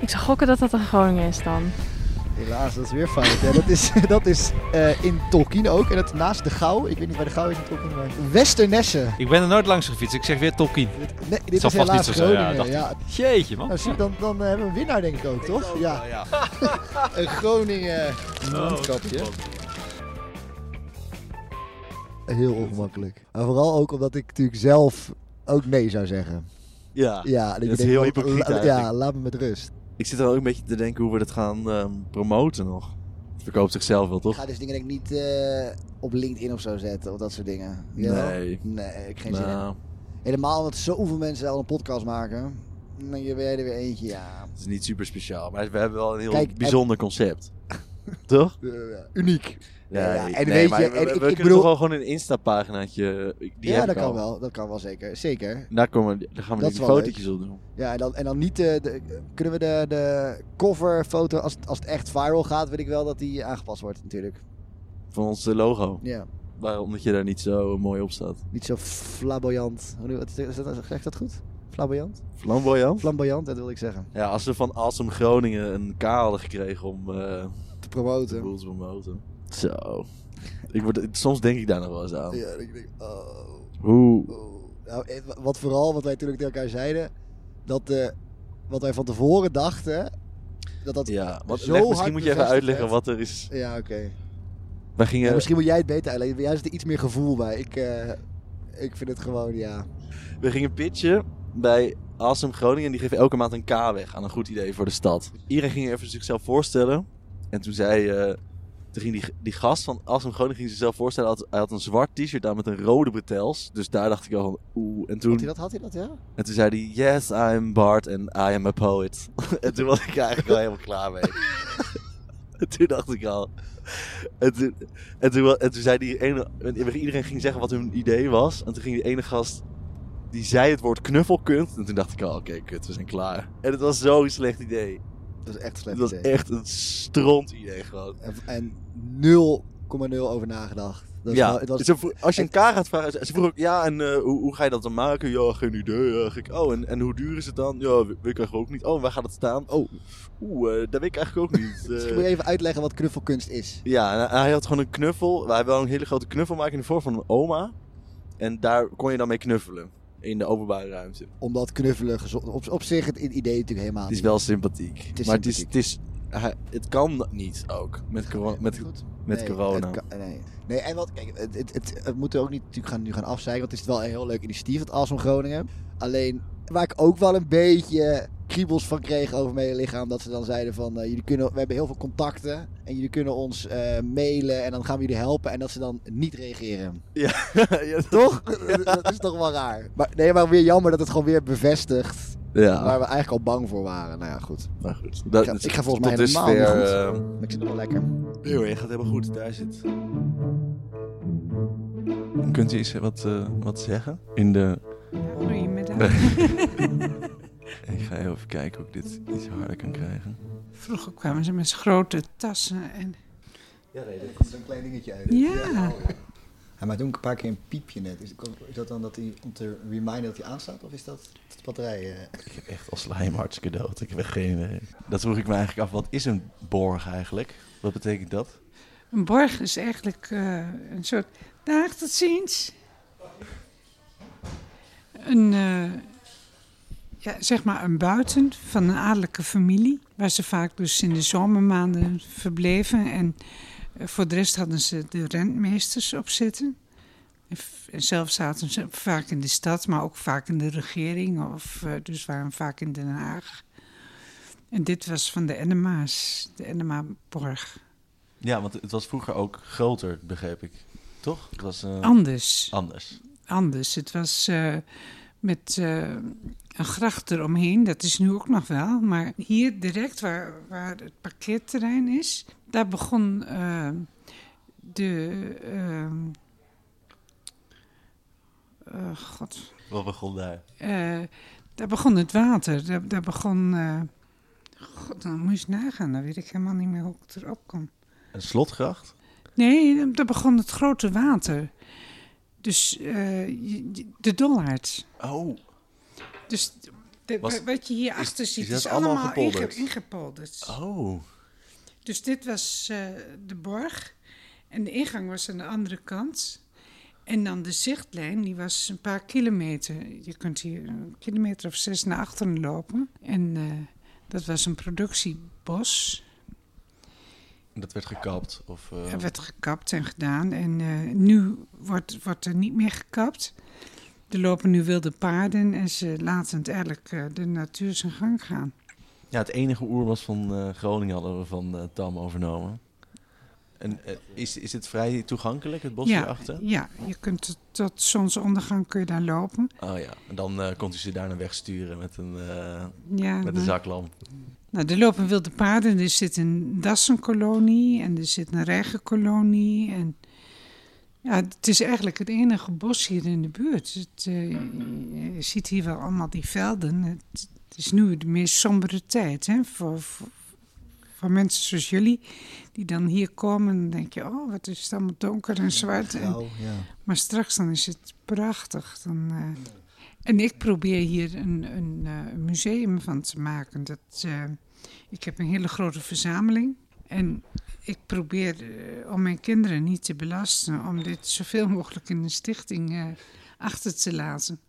Speaker 12: ik zou gokken dat dat in Groningen is dan.
Speaker 7: Helaas, dat is weer fout. Ja, dat is, dat is eh, in Tolkien ook. En dat naast de Gouw. Ik weet niet waar de Gouw is in Tolkien, maar... Westernessen.
Speaker 11: Ik ben er nooit langs gefietst. Ik zeg weer Tolkien.
Speaker 7: Nee,
Speaker 11: Het
Speaker 7: dit
Speaker 11: zal
Speaker 7: is
Speaker 11: vast
Speaker 7: helaas
Speaker 11: niet zo zijn. Ja,
Speaker 7: Groningen.
Speaker 11: dacht ik.
Speaker 7: ja.
Speaker 11: Jeetje, man.
Speaker 7: Nou, zie, dan, dan eh, hebben we een winnaar denk ik ook, toch?
Speaker 8: Oh,
Speaker 7: ja. een Groningen mondkapje.
Speaker 11: Oh,
Speaker 7: Eh, Heel ongemakkelijk. Maar vooral ook omdat ik natuurlijk zelf ook nee zou zeggen.
Speaker 8: Ja,
Speaker 7: Ja,
Speaker 8: dat
Speaker 7: je
Speaker 8: is
Speaker 7: denkt,
Speaker 8: heel
Speaker 7: la-
Speaker 8: hypocriet
Speaker 7: la- Ja,
Speaker 8: eigenlijk.
Speaker 7: laat me met rust.
Speaker 8: Ik zit er ook een beetje te denken hoe we dat gaan ehm, promoten nog. Het verkoopt zichzelf wel,
Speaker 4: Ik
Speaker 8: toch?
Speaker 4: ga dus dingen denk ik niet eh, op LinkedIn of zo zetten, of dat soort dingen. Jawel?
Speaker 8: Nee.
Speaker 4: Nee, ik geen zin in.
Speaker 8: Nou,
Speaker 4: Helemaal omdat zoveel mensen al een podcast maken. Dan ben je er weer eentje, ja.
Speaker 8: het is niet super speciaal, maar we hebben wel een heel
Speaker 4: Kijk, en-
Speaker 8: bijzonder concept. toch?
Speaker 7: Eh, uniek.
Speaker 8: Ja,
Speaker 4: ja, en weet je,
Speaker 8: maar we,
Speaker 4: en
Speaker 8: we
Speaker 4: ik- ik
Speaker 8: kunnen
Speaker 4: bedoel-
Speaker 8: toch wel gewoon een Insta-paginaatje... eh, Die
Speaker 4: ja,
Speaker 8: heb
Speaker 4: dat
Speaker 8: ik
Speaker 4: kan
Speaker 8: al.
Speaker 4: wel. Dat kan wel zeker. Zeker.
Speaker 8: Daar, komen, we- daar gaan we
Speaker 4: Dat
Speaker 8: nu
Speaker 4: is
Speaker 8: die
Speaker 4: wel
Speaker 8: fotootjes op doen.
Speaker 4: Ja, en dan, en dan niet de, de- Kunnen we de, de coverfoto, als, het- als het echt viral gaat, weet ik wel dat die aangepast wordt natuurlijk.
Speaker 8: Van ons eh, logo.
Speaker 4: Ja,
Speaker 8: Waarom dat je daar niet zo eh, mooi op staat.
Speaker 4: niet zo flamboyant. Hoe noem- Wat is is dat, zeg ik dat goed? Flamboyant?
Speaker 8: Flamboyant?
Speaker 4: Flamboyant, dat wil ik zeggen.
Speaker 8: Ja, als we van Awesome Groningen een K hadden gekregen om... eh,
Speaker 4: Te
Speaker 8: de
Speaker 4: promoten.
Speaker 8: boel te promoten. Zo. Ik word, soms denk ik daar nog wel eens aan.
Speaker 7: Ja, ik denk, oh.
Speaker 8: Hoe...
Speaker 7: Nou, eh, wa- wat vooral, wat wij natuurlijk tegen elkaar zeiden, dat eh, wat wij van tevoren dachten, dat dat...
Speaker 8: Ja, want
Speaker 7: zo
Speaker 8: leg-
Speaker 7: hard
Speaker 8: misschien moet je even
Speaker 7: bevestigd
Speaker 8: uitleggen
Speaker 7: werd.
Speaker 8: wat er is.
Speaker 7: Ja, oké.
Speaker 8: Wij gingen...
Speaker 7: Ja, misschien moet jij het beter uitleggen. Jij zit er iets meer gevoel bij. Ik, eh, ik vind het gewoon, ja.
Speaker 8: We gingen pitchen bij Awesome Groningen. En die geven elke maand een K weg aan een goed idee voor de stad. Iedereen ging even zichzelf voorstellen. En toen zei... eh, toen ging die, die gast van Awesome Groningen ging zichzelf voorstellen. Hij had, hij had een zwart t-shirt aan met een rode bretels. Dus daar dacht ik al van oeh. En toen,
Speaker 4: Had hij dat? Had hij dat, ja?
Speaker 8: en toen zei hij... Yes, I'm Bart and I am a poet. en toen was ik eigenlijk wel helemaal klaar mee. en toen dacht ik al... En toen, en toen, wa- en toen zei die ene... en Iedereen ging zeggen wat hun idee was. En toen ging die ene gast... Die zei het woord knuffelkunt. En toen dacht ik al, oké, kut, we zijn klaar. En het was zo'n slecht idee.
Speaker 7: Dat is echt een
Speaker 8: Het
Speaker 7: slecht
Speaker 8: was
Speaker 7: idee.
Speaker 8: echt een stront idee gewoon.
Speaker 7: En, en 0,0 over nagedacht. Dat is
Speaker 8: ja,
Speaker 7: wel- het was,
Speaker 8: ze vro- als je een K gaat vragen... Ze ze vroeg ook, ja, en eh, hoe, hoe ga je dat dan maken? Ja, geen idee eigenlijk. Oh, en, en hoe duur is het dan? Ja, we- weet ik eigenlijk ook niet. Oh, en waar gaat het staan? Oh, oeh, eh, dat weet ik eigenlijk ook niet.
Speaker 7: Misschien
Speaker 8: Eh,
Speaker 7: moet je even uitleggen wat knuffelkunst is.
Speaker 8: Ja, en hij had gewoon een knuffel. Hij had wel een hele grote knuffel maken in de vorm van een oma. En daar kon je dan mee knuffelen. in de openbare ruimte.
Speaker 7: Omdat knuffelen gezond... Op, op zich het idee natuurlijk helemaal
Speaker 8: Het is
Speaker 7: niet.
Speaker 8: wel sympathiek.
Speaker 7: Het is
Speaker 8: maar Het, is, het, is, hij- het kan niet ook met, corona, met, met
Speaker 7: Nee,
Speaker 8: corona.
Speaker 7: het kan- nee. nee, en wat, kijk, het, het, het, het moet er ook niet natuurlijk gaan, nu gaan afzeiken, want het is wel een heel leuk initiatief, het Awesome Groningen. Alleen, waar ik ook wel een beetje kriebels van kreeg over mijn lichaam, dat ze dan zeiden van, eh, jullie kunnen, we hebben heel veel contacten en jullie kunnen ons eh, mailen en dan gaan we jullie helpen en dat ze dan niet reageren.
Speaker 8: Ja,
Speaker 7: toch? Dat is toch wel raar. Maar, nee, maar weer jammer dat het gewoon weer bevestigt
Speaker 8: Ja.
Speaker 7: waar we eigenlijk al bang voor waren. Nou ja, goed.
Speaker 8: Maar goed.
Speaker 7: ik, ga, ik ga volgens mij helemaal niet goed.
Speaker 8: eh,
Speaker 7: Maar ik zit nog wel lekker.
Speaker 8: Heel je gaat helemaal goed. Daar zit. Kunt u eens wat, eh, wat zeggen? In de...
Speaker 13: Goedemiddag.
Speaker 8: ik ga even kijken of ik dit iets harder kan krijgen.
Speaker 13: Vroeger kwamen ze met grote tassen en...
Speaker 14: Ja, nee,
Speaker 7: dat is een klein dingetje
Speaker 14: uit.
Speaker 13: Ja.
Speaker 14: Hij maakt ook een paar keer een piepje net. Is, is dat dan dat hij om te reminden dat hij aanstaat? Of is dat de batterij? eh?
Speaker 8: Ik heb echt al slijm hartstikke dood. Ik heb echt geen idee. Dat vroeg ik me eigenlijk af. Wat is een borg eigenlijk? Wat betekent dat?
Speaker 13: Een borg is eigenlijk eh, een soort... Dag, tot ziens. Een, eh, ja, zeg maar een buiten van een adellijke familie. Waar ze vaak dus in de zomermaanden verbleven. En eh, voor de rest hadden ze de rentmeesters op zitten. En f- en zelf zaten ze vaak in de stad, maar ook vaak in de regering. Of eh, dus waren vaak in Den Haag. En dit was van de Enema's, de Enema-borg.
Speaker 8: Ja, want het was vroeger ook groter, begreep ik. Toch? Het was, eh,
Speaker 13: Oh. Anders.
Speaker 8: Anders.
Speaker 13: anders. Het was eh, met eh, een gracht eromheen, dat is nu ook nog wel. Maar hier direct waar, waar het parkeerterrein is, daar begon eh, de. ehm, eh, God.
Speaker 8: Wat begon daar?
Speaker 13: Eh, daar begon het water. Daar, daar begon. eh, God, dan moet je eens nagaan. Dan weet ik helemaal niet meer hoe ik erop kom.
Speaker 8: Een slotgracht?
Speaker 13: Nee, daar begon het grote water. Dus eh, je- je- de Dollard.
Speaker 8: Oh.
Speaker 13: Dus de-
Speaker 8: Was-
Speaker 13: wa- wat je hierachter
Speaker 8: is
Speaker 13: ziet
Speaker 8: dat
Speaker 13: Dus is
Speaker 8: allemaal
Speaker 13: allemaal, inge-
Speaker 8: gepolderd?
Speaker 13: ingepolderd.
Speaker 8: Oh.
Speaker 13: Dus dit was eh, de borg. En de ingang was aan de andere kant. En dan de zichtlijn, die was een paar kilometer. Je kunt hier een kilometer of zes naar achteren lopen. En eh, dat was een productiebos.
Speaker 8: Dat werd gekapt? Of, eh,
Speaker 13: Er werd gekapt en gedaan. En eh, nu wordt, wordt er niet meer gekapt. Er lopen nu wilde paarden en ze laten het eigenlijk eh, de natuur zijn gang gaan.
Speaker 8: Ja, het enige oerwas van eh, Groningen hadden we van eh, Tam overnomen. En eh, is, is het vrij toegankelijk, het bos
Speaker 13: ja,
Speaker 8: hierachter?
Speaker 13: Ja, je kunt tot, tot zonsondergang kun je daar lopen.
Speaker 8: Oh ja, en dan eh, kon u ze daarna wegsturen met een, eh,
Speaker 13: Ja,
Speaker 8: met een
Speaker 13: maar-
Speaker 8: zaklamp.
Speaker 13: Nou, er lopen wilde paarden. Er zit een dassenkolonie en er zit een reigerkolonie. En ja, het is eigenlijk het enige bos hier in de buurt. Het, eh, je ziet hier wel allemaal die velden. Het, het is nu de meest sombere tijd hè, voor, voor, voor mensen zoals jullie. Die dan hier komen en denk je, oh, wat is het allemaal donker en zwart. En-
Speaker 14: grauw, ja.
Speaker 13: Maar straks dan is het prachtig. Dan, eh, en ik probeer hier een, een eh, museum van te maken. Dat, eh, ik heb een hele grote verzameling. En ik probeer eh, om mijn kinderen niet te belasten, om dit zoveel mogelijk in een stichting eh, achter te laten.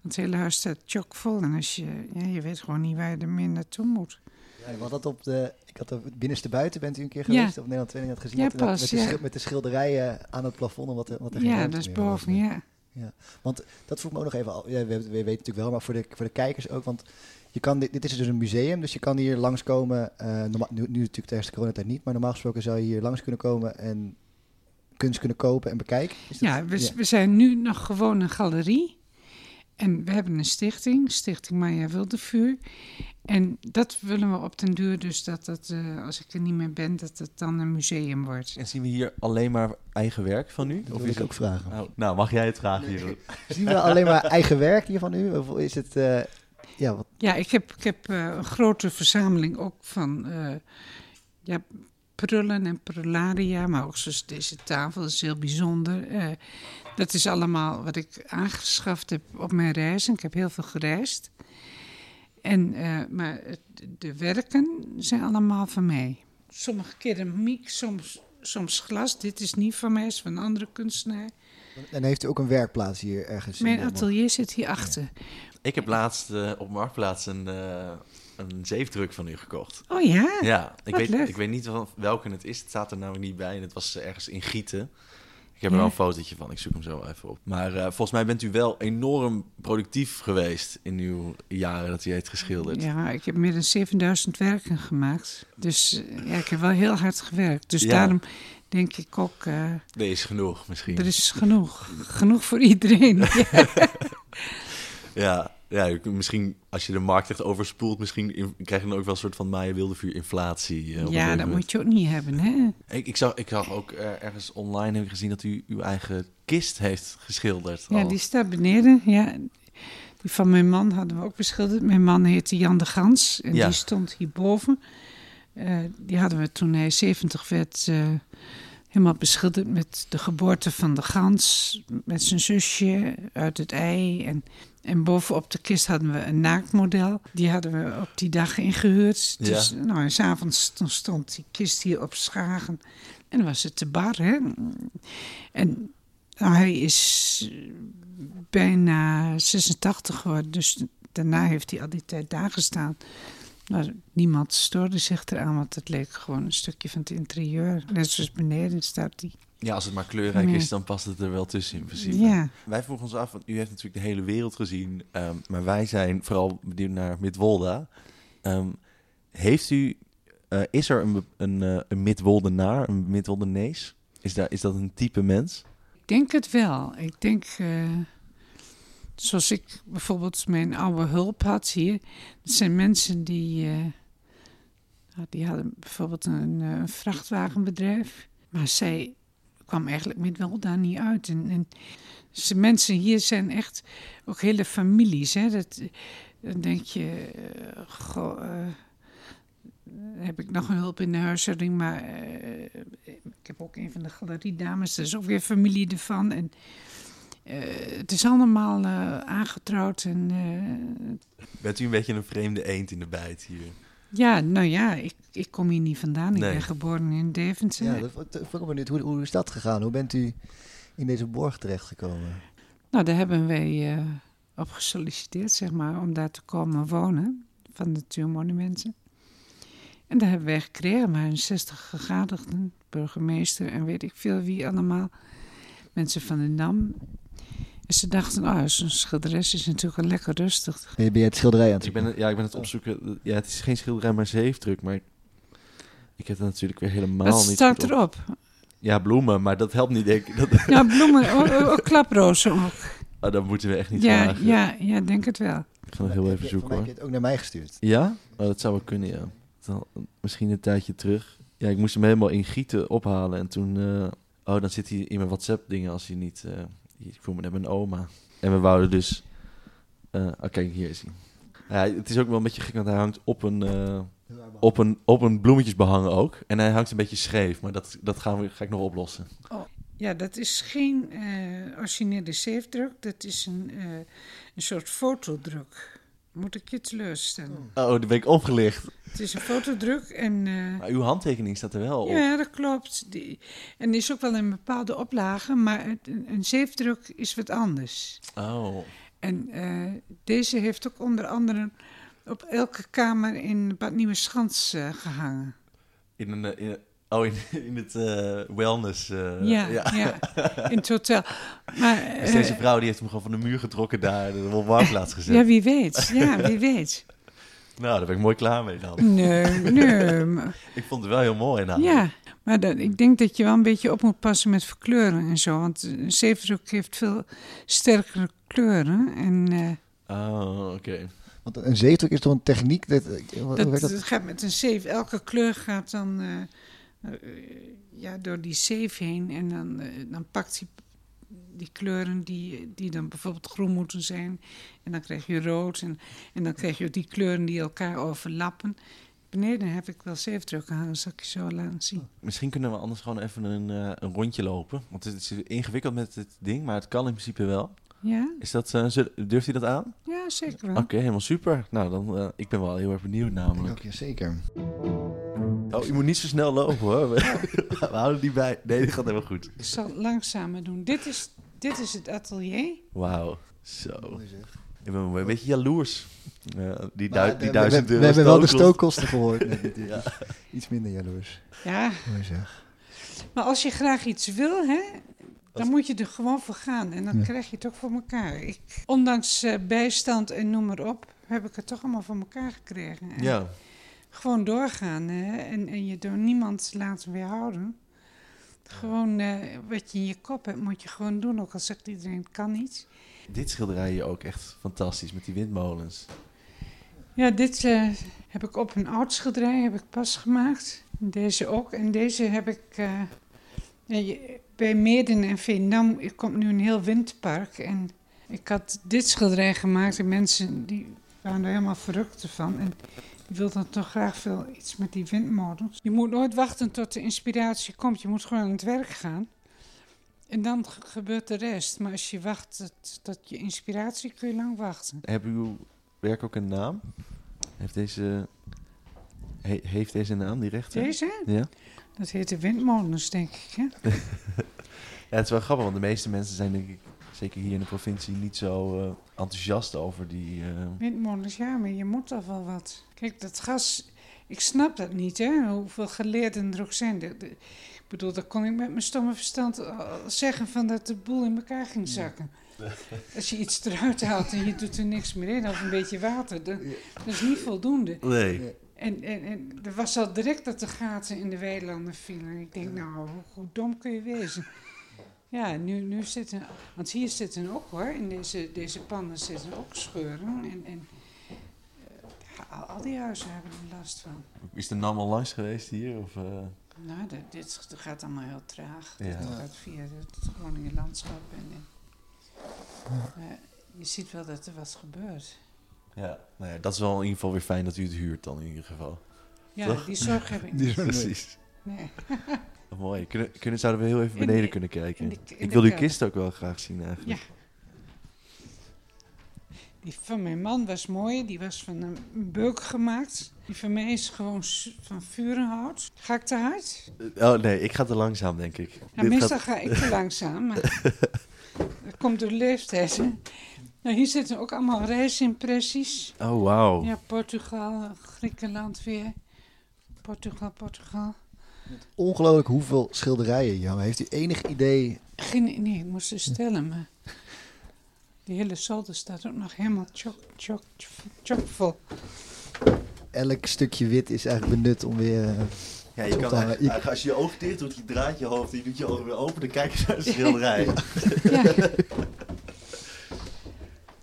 Speaker 13: Want het hele huis staat chockvol en als je, ja, je weet gewoon niet waar je er meer naartoe moet.
Speaker 14: Ja, wat dat op de, ik had het binnenste buiten, bent u een keer
Speaker 13: Ja.
Speaker 14: geweest? Op Nederland 2 had gezien
Speaker 13: Ja,
Speaker 14: dat inderdaad met,
Speaker 13: pas,
Speaker 14: de
Speaker 13: ja.
Speaker 14: schil- met de schilderijen aan het plafond en wat er, wat er geen
Speaker 13: Ja,
Speaker 14: ruimte
Speaker 13: dat is
Speaker 14: meer was.
Speaker 13: boven, ja.
Speaker 14: Ja, want dat vroeg me ook nog even al. Ja, we, we weten natuurlijk wel, maar voor de, voor de kijkers ook. Want je kan, dit, dit is dus een museum, dus je kan hier langskomen. eh norma- nu, nu natuurlijk tijdens de coronatijd niet, maar normaal gesproken zou je hier langs kunnen komen en kunst kunnen kopen en bekijken. Is dat-
Speaker 13: Ja, we, we zijn nu nog gewoon een galerie. En we hebben een stichting, Stichting Maya Wildevuur. En dat willen we op den duur dus dat dat, eh, als ik er niet meer ben, dat het dan een museum wordt.
Speaker 8: En zien we hier alleen maar eigen werk van u?
Speaker 14: wil ik ook vragen.
Speaker 8: Nou, nou, mag jij het vragen hier?
Speaker 14: Zien we alleen maar eigen werk hier van u? Of is het... eh, ja, wat,
Speaker 13: Ja, ik heb, ik heb eh, een grote verzameling ook van eh, ja, prullen en prularia. Maar ook zoals deze tafel is heel bijzonder. Eh, dat is allemaal wat ik aangeschaft heb op mijn reizen. Ik heb heel veel gereisd. En, eh, maar het- de werken zijn allemaal van mij. Sommige keren Miek, soms soms glas. Dit is niet van mij, is van een andere kunstenaar.
Speaker 14: En heeft u ook een werkplaats hier ergens? in
Speaker 13: Mijn
Speaker 14: Delmond?
Speaker 13: atelier zit hierachter.
Speaker 8: Ik heb laatst eh, op Marktplaats een, eh, een zeefdruk van u gekocht.
Speaker 13: Oh ja?
Speaker 8: Ja, ik
Speaker 13: Wat
Speaker 8: weet,
Speaker 13: leuk.
Speaker 8: ik weet niet wel- welke het is. Het staat er namelijk niet bij en het was eh, ergens in Gieten. Ik heb
Speaker 13: Ja.
Speaker 8: er wel een fotootje van, ik zoek hem zo even op. Maar eh, volgens mij bent u wel enorm productief geweest in uw jaren dat u heeft geschilderd.
Speaker 13: Ja, ik heb meer dan 7000 werken gemaakt. Dus eh, ja, ik heb wel heel hard gewerkt. Dus
Speaker 8: Ja.
Speaker 13: daarom denk ik ook, eh,
Speaker 8: Er is genoeg misschien.
Speaker 13: er is genoeg. Genoeg voor iedereen. Ja.
Speaker 8: Ja, ja, ik- misschien als je de markt echt overspoelt, misschien in- krijg je dan ook wel een soort van Maya Wildevuur inflatie. eh, op een
Speaker 13: ja,
Speaker 8: gegeven
Speaker 13: dat
Speaker 8: moment.
Speaker 13: moet je ook niet hebben, hè?
Speaker 8: Ik, ik, zag, ik zag ook eh, ergens online heb ik gezien dat u uw eigen kist heeft geschilderd.
Speaker 13: Ja,
Speaker 8: al.
Speaker 13: die staat beneden. Ja, die van mijn man hadden we ook beschilderd. Mijn man heette Jan de Gans en
Speaker 8: Ja.
Speaker 13: die stond hierboven. Eh die hadden we toen hij 70 werd eh, helemaal beschilderd met de geboorte van de gans. Met zijn zusje uit het ei. En, en bovenop de kist hadden we een naaktmodel. Die hadden we op die dag ingehuurd.
Speaker 15: Ja.
Speaker 13: Dus nou, en s'avonds toen stond die kist hier op Schagen. En dan was het te bar, hè. En nou, hij is bijna 86 geworden, dus daarna heeft hij al die tijd daar gestaan. Maar niemand stoorde zich eraan, want het leek gewoon een stukje van het interieur. Net zoals beneden staat die.
Speaker 8: Ja, als het maar kleurrijk
Speaker 13: Nee.
Speaker 8: is, dan past het er wel tussen in principe.
Speaker 13: Ja.
Speaker 8: Wij vroegen ons af, want u heeft natuurlijk de hele wereld gezien. ehm, maar wij zijn vooral benieuwd naar Midwolda. Ehm, heeft u, eh, is er een, be- een, eh, een Midwoldenaar, een Midwoldenees? Is, daar, is dat een type mens?
Speaker 13: Ik denk het wel. Ik denk, eh, zoals ik bijvoorbeeld mijn oude hulp had hier. Dat zijn mensen die, eh, nou, die hadden bijvoorbeeld een, eh, een vrachtwagenbedrijf. Maar zij kwam eigenlijk met wel daar niet uit. En, en ze mensen hier zijn echt ook hele families. Hè? Dat, dan denk je, eh, goh, eh, heb ik nog een hulp in de huishouding, maar eh, ik heb ook een van de galeriedames, dat is ook weer familie ervan. En, eh, het is allemaal eh, aangetrouwd en eh,
Speaker 8: Bent u een beetje een vreemde eend in de bijt hier?
Speaker 13: ja, nou ja, ik, ik kom hier niet vandaan. Ik
Speaker 8: Nee.
Speaker 13: ben geboren in Deventer.
Speaker 14: Ja, dat, dat, ik ben benieuwd. Hoe, hoe is dat gegaan? Hoe bent u in deze borg terechtgekomen?
Speaker 13: Nou, daar hebben wij eh, op gesolliciteerd, zeg maar, om daar te komen wonen van de natuurmonumenten. En daar hebben wij gekregen, maar een 60 gegadigden, burgemeester en weet ik veel wie allemaal, mensen van de NAM. En ze dachten, oh, zo'n schilderes is natuurlijk wel lekker rustig.
Speaker 14: Ben je, ben je het schilderij aan het
Speaker 8: Ik ben, het- ja, ik ben het opzoeken. Ja, het is geen schilderij, maar zeefdruk. Maar ik- ik heb het natuurlijk weer helemaal
Speaker 13: Wat
Speaker 8: niet
Speaker 13: staat
Speaker 8: goed op.
Speaker 13: erop?
Speaker 8: Ja, bloemen, maar dat helpt niet, denk ik. Dat,
Speaker 13: Nou, bloemen, ook, ook- ook klaprozen ook.
Speaker 8: Ah, dat moeten we echt niet
Speaker 13: Ja,
Speaker 8: vragen.
Speaker 13: ja, ja, denk het wel.
Speaker 8: Ik ga nog heel even zoeken, hoor.
Speaker 14: heb je het ook naar mij gestuurd?
Speaker 8: Ja? Oh, dat zou wel kunnen, ja. Dan, misschien een tijdje terug. Ja, ik moest hem helemaal in Gieten ophalen. En toen... eh, oh, dan zit hij in mijn WhatsApp-dingen als hij niet... eh, ik voel me net mijn oma. En we wouden dus... eh oh, kijk, hier is hij. Ja, het is ook wel een beetje gek, want hij hangt op een, eh, op een, op een bloemetjesbehang ook. En hij hangt een beetje scheef, maar dat, dat gaan we, ga ik nog oplossen.
Speaker 13: Oh, ja, dat is geen eh, originele zeefdruk. Dat is een, eh, een soort fotodruk. Moet ik je teleurstellen?
Speaker 8: Oh, dan ben ik opgelicht.
Speaker 13: Het is een fotodruk en... eh,
Speaker 8: Maar uw handtekening staat er wel op.
Speaker 13: ja, dat klopt. Die, en die is ook wel in bepaalde oplagen, maar het- een, een zeefdruk is wat anders.
Speaker 8: Oh.
Speaker 13: En eh, deze heeft ook onder andere op elke kamer in Bad Nieuweschans eh, gehangen.
Speaker 8: In een... eh, In een- Oh, in, in het eh, wellness. eh,
Speaker 13: ja, ja. in het hotel. Maar,
Speaker 8: Dus
Speaker 13: eh,
Speaker 8: deze vrouw die heeft hem gewoon van de muur getrokken daar en op een warmplaats gezet.
Speaker 13: ja, wie weet. Ja, wie weet.
Speaker 8: nou, daar ben ik mooi klaar mee dan.
Speaker 13: Nee, nee. maar-
Speaker 8: ik vond het wel heel mooi namelijk.
Speaker 13: Mm. Ja, maar dat, ik denk dat je wel een beetje op moet passen met verkleuren en zo. Want een zeefdruk heeft veel sterkere kleuren. En eh,
Speaker 8: Oh, oké.
Speaker 14: Want een zeefdruk is toch een techniek? Dat, hoe
Speaker 13: dat,
Speaker 14: werkt dat?
Speaker 13: dat gaat met een zeef. Elke kleur gaat dan eh, eh, ja, door die zeef heen. En dan, eh, dan pakt die, die kleuren die, die dan bijvoorbeeld groen moeten zijn. En dan krijg je rood. En, en dan krijg je die kleuren die elkaar overlappen. Beneden heb ik wel zeefdrukken hangen, zal ik je zo laten zien.
Speaker 8: Misschien kunnen we anders gewoon even een, eh, een rondje lopen. Want het is ingewikkeld met het ding, maar het kan in principe wel.
Speaker 13: Ja?
Speaker 8: Is dat, eh, zul- durft u dat aan?
Speaker 13: Ja, zeker wel.
Speaker 8: Oké, helemaal super. Nou, dan, eh, ik ben wel heel erg benieuwd namelijk.
Speaker 14: Zeker.
Speaker 13: doen.
Speaker 8: Oh, je moet niet zo snel lopen hoor. We, we houden die bij. Nee, dat gaat helemaal goed.
Speaker 13: Ik zal het langzamer doen. Dit is, dit is het atelier.
Speaker 8: Wauw, zo. Ik ben een beetje jaloers. Ja, die,
Speaker 14: Maar eh,
Speaker 8: du- die
Speaker 14: Nou, we-
Speaker 8: duizend
Speaker 14: we,
Speaker 8: euro
Speaker 14: we hebben wel de
Speaker 8: stookkosten.
Speaker 14: stookkosten gehoord. net
Speaker 8: Ja.
Speaker 14: natuurlijk. Iets minder jaloers.
Speaker 13: Ja.
Speaker 14: Mooi zeg.
Speaker 13: Maar als je graag iets wil, hè, dan moet je er gewoon voor gaan. En dan
Speaker 14: Ja.
Speaker 13: krijg je het ook voor elkaar. Ik, ondanks eh, bijstand en noem maar op, heb ik het toch allemaal voor elkaar gekregen. En
Speaker 8: Ja.
Speaker 13: Gewoon doorgaan hè, en, en je door niemand laten weerhouden. Gewoon eh, wat je in je kop hebt, moet je gewoon doen. Ook al zegt iedereen, het kan niet.
Speaker 8: Dit schilderij hier ook echt fantastisch met die windmolens.
Speaker 13: Ja, dit eh, heb ik op een oud schilderij heb ik pas gemaakt. Deze ook. En deze heb ik eh, eh, je- bij Meerden en Veendam. Er komt nu een heel windpark. En ik had dit schilderij gemaakt. En mensen die waren er helemaal verrukt van. En die wilden toch graag veel iets met die windmolens. Je moet nooit wachten tot de inspiratie komt. Je moet gewoon aan het werk gaan. En dan ge- gebeurt de rest. Maar als je wacht tot- tot je inspiratie, kun je lang wachten.
Speaker 8: Hebben uw werk ook een naam? Heeft deze, he- heeft deze een naam, die rechter?
Speaker 13: Deze?
Speaker 8: Ja.
Speaker 13: Dat heet de windmolens, denk ik. Hè?
Speaker 8: Ja, het is wel grappig, want de meeste mensen zijn denk ik, zeker hier in de provincie, niet zo eh, enthousiast over die... eh,
Speaker 13: Windmolens, ja, maar je moet toch wel wat. Kijk, dat gas, ik snap dat niet, hè? Hoeveel geleerden er ook zijn. De- de- ik bedoel, dat kon ik met mijn stomme verstand al zeggen van dat de boel in elkaar ging zakken. Als je iets eruit haalt en je doet er niks meer in, of een beetje water, dan, dat is niet voldoende.
Speaker 8: Nee. Nee.
Speaker 13: En, en, en er was al direct dat de gaten in de weilanden vielen. Ik denk, nou, hoe, hoe dom kun je wezen? Ja, nu, nu zitten, want hier zitten ook hoor, in deze, deze pannen zitten ook scheuren. En, en eh, ja, al, al die huizen hebben er last van.
Speaker 8: Is de NAM al langs geweest hier? Of, eh?
Speaker 13: Nou, dit, dit gaat allemaal heel traag.
Speaker 8: Ja.
Speaker 13: Het gaat via het Groningen landschap. En, en, eh, je ziet wel dat er wat gebeurt.
Speaker 8: ja. Nou ja, dat is wel in ieder geval weer fijn dat u het huurt dan in ieder geval.
Speaker 13: Ja,
Speaker 8: Toch?
Speaker 13: die zorg heb ik
Speaker 8: Die
Speaker 13: niet.
Speaker 8: Precies.
Speaker 13: Nee.
Speaker 8: Oh, mooi. Kunnen, kunnen, zouden we heel even
Speaker 13: In
Speaker 8: beneden
Speaker 13: de-
Speaker 8: kunnen kijken?
Speaker 13: in de- in
Speaker 8: ik
Speaker 13: de
Speaker 8: wil uw
Speaker 13: kelder.
Speaker 8: kist ook wel graag zien eigenlijk.
Speaker 13: Ja. Die van mijn man was mooi, die was van een beuk gemaakt. Die van mij is gewoon s- van vurenhout. Ga ik te hard?
Speaker 8: Oh nee, ik ga te langzaam, denk ik.
Speaker 13: Ja,
Speaker 8: Dit
Speaker 13: meestal
Speaker 8: gaat-
Speaker 13: ga ik te langzaam, maar dat komt door de leeftijd. Hè? Nou, hier zitten ook allemaal reisimpressies.
Speaker 8: Oh, wauw.
Speaker 13: Ja, Portugal, Griekenland weer. Portugal, Portugal.
Speaker 14: Ongelooflijk hoeveel schilderijen, Jan. Heeft u enig idee?
Speaker 13: Geen, nee, ik moest ze stellen, maar die hele zolder staat ook nog helemaal chock, chock, chock vol.
Speaker 14: Elk stukje wit is eigenlijk benut om weer... eh,
Speaker 8: Ja,
Speaker 14: iets
Speaker 8: je
Speaker 14: op
Speaker 8: kan
Speaker 14: te hangen.
Speaker 8: eigenlijk, eigenlijk als je je oog dicht doet, je draait je hoofd, je doet je ogen weer open, dan kijk je naar de schilderij.
Speaker 14: Ja.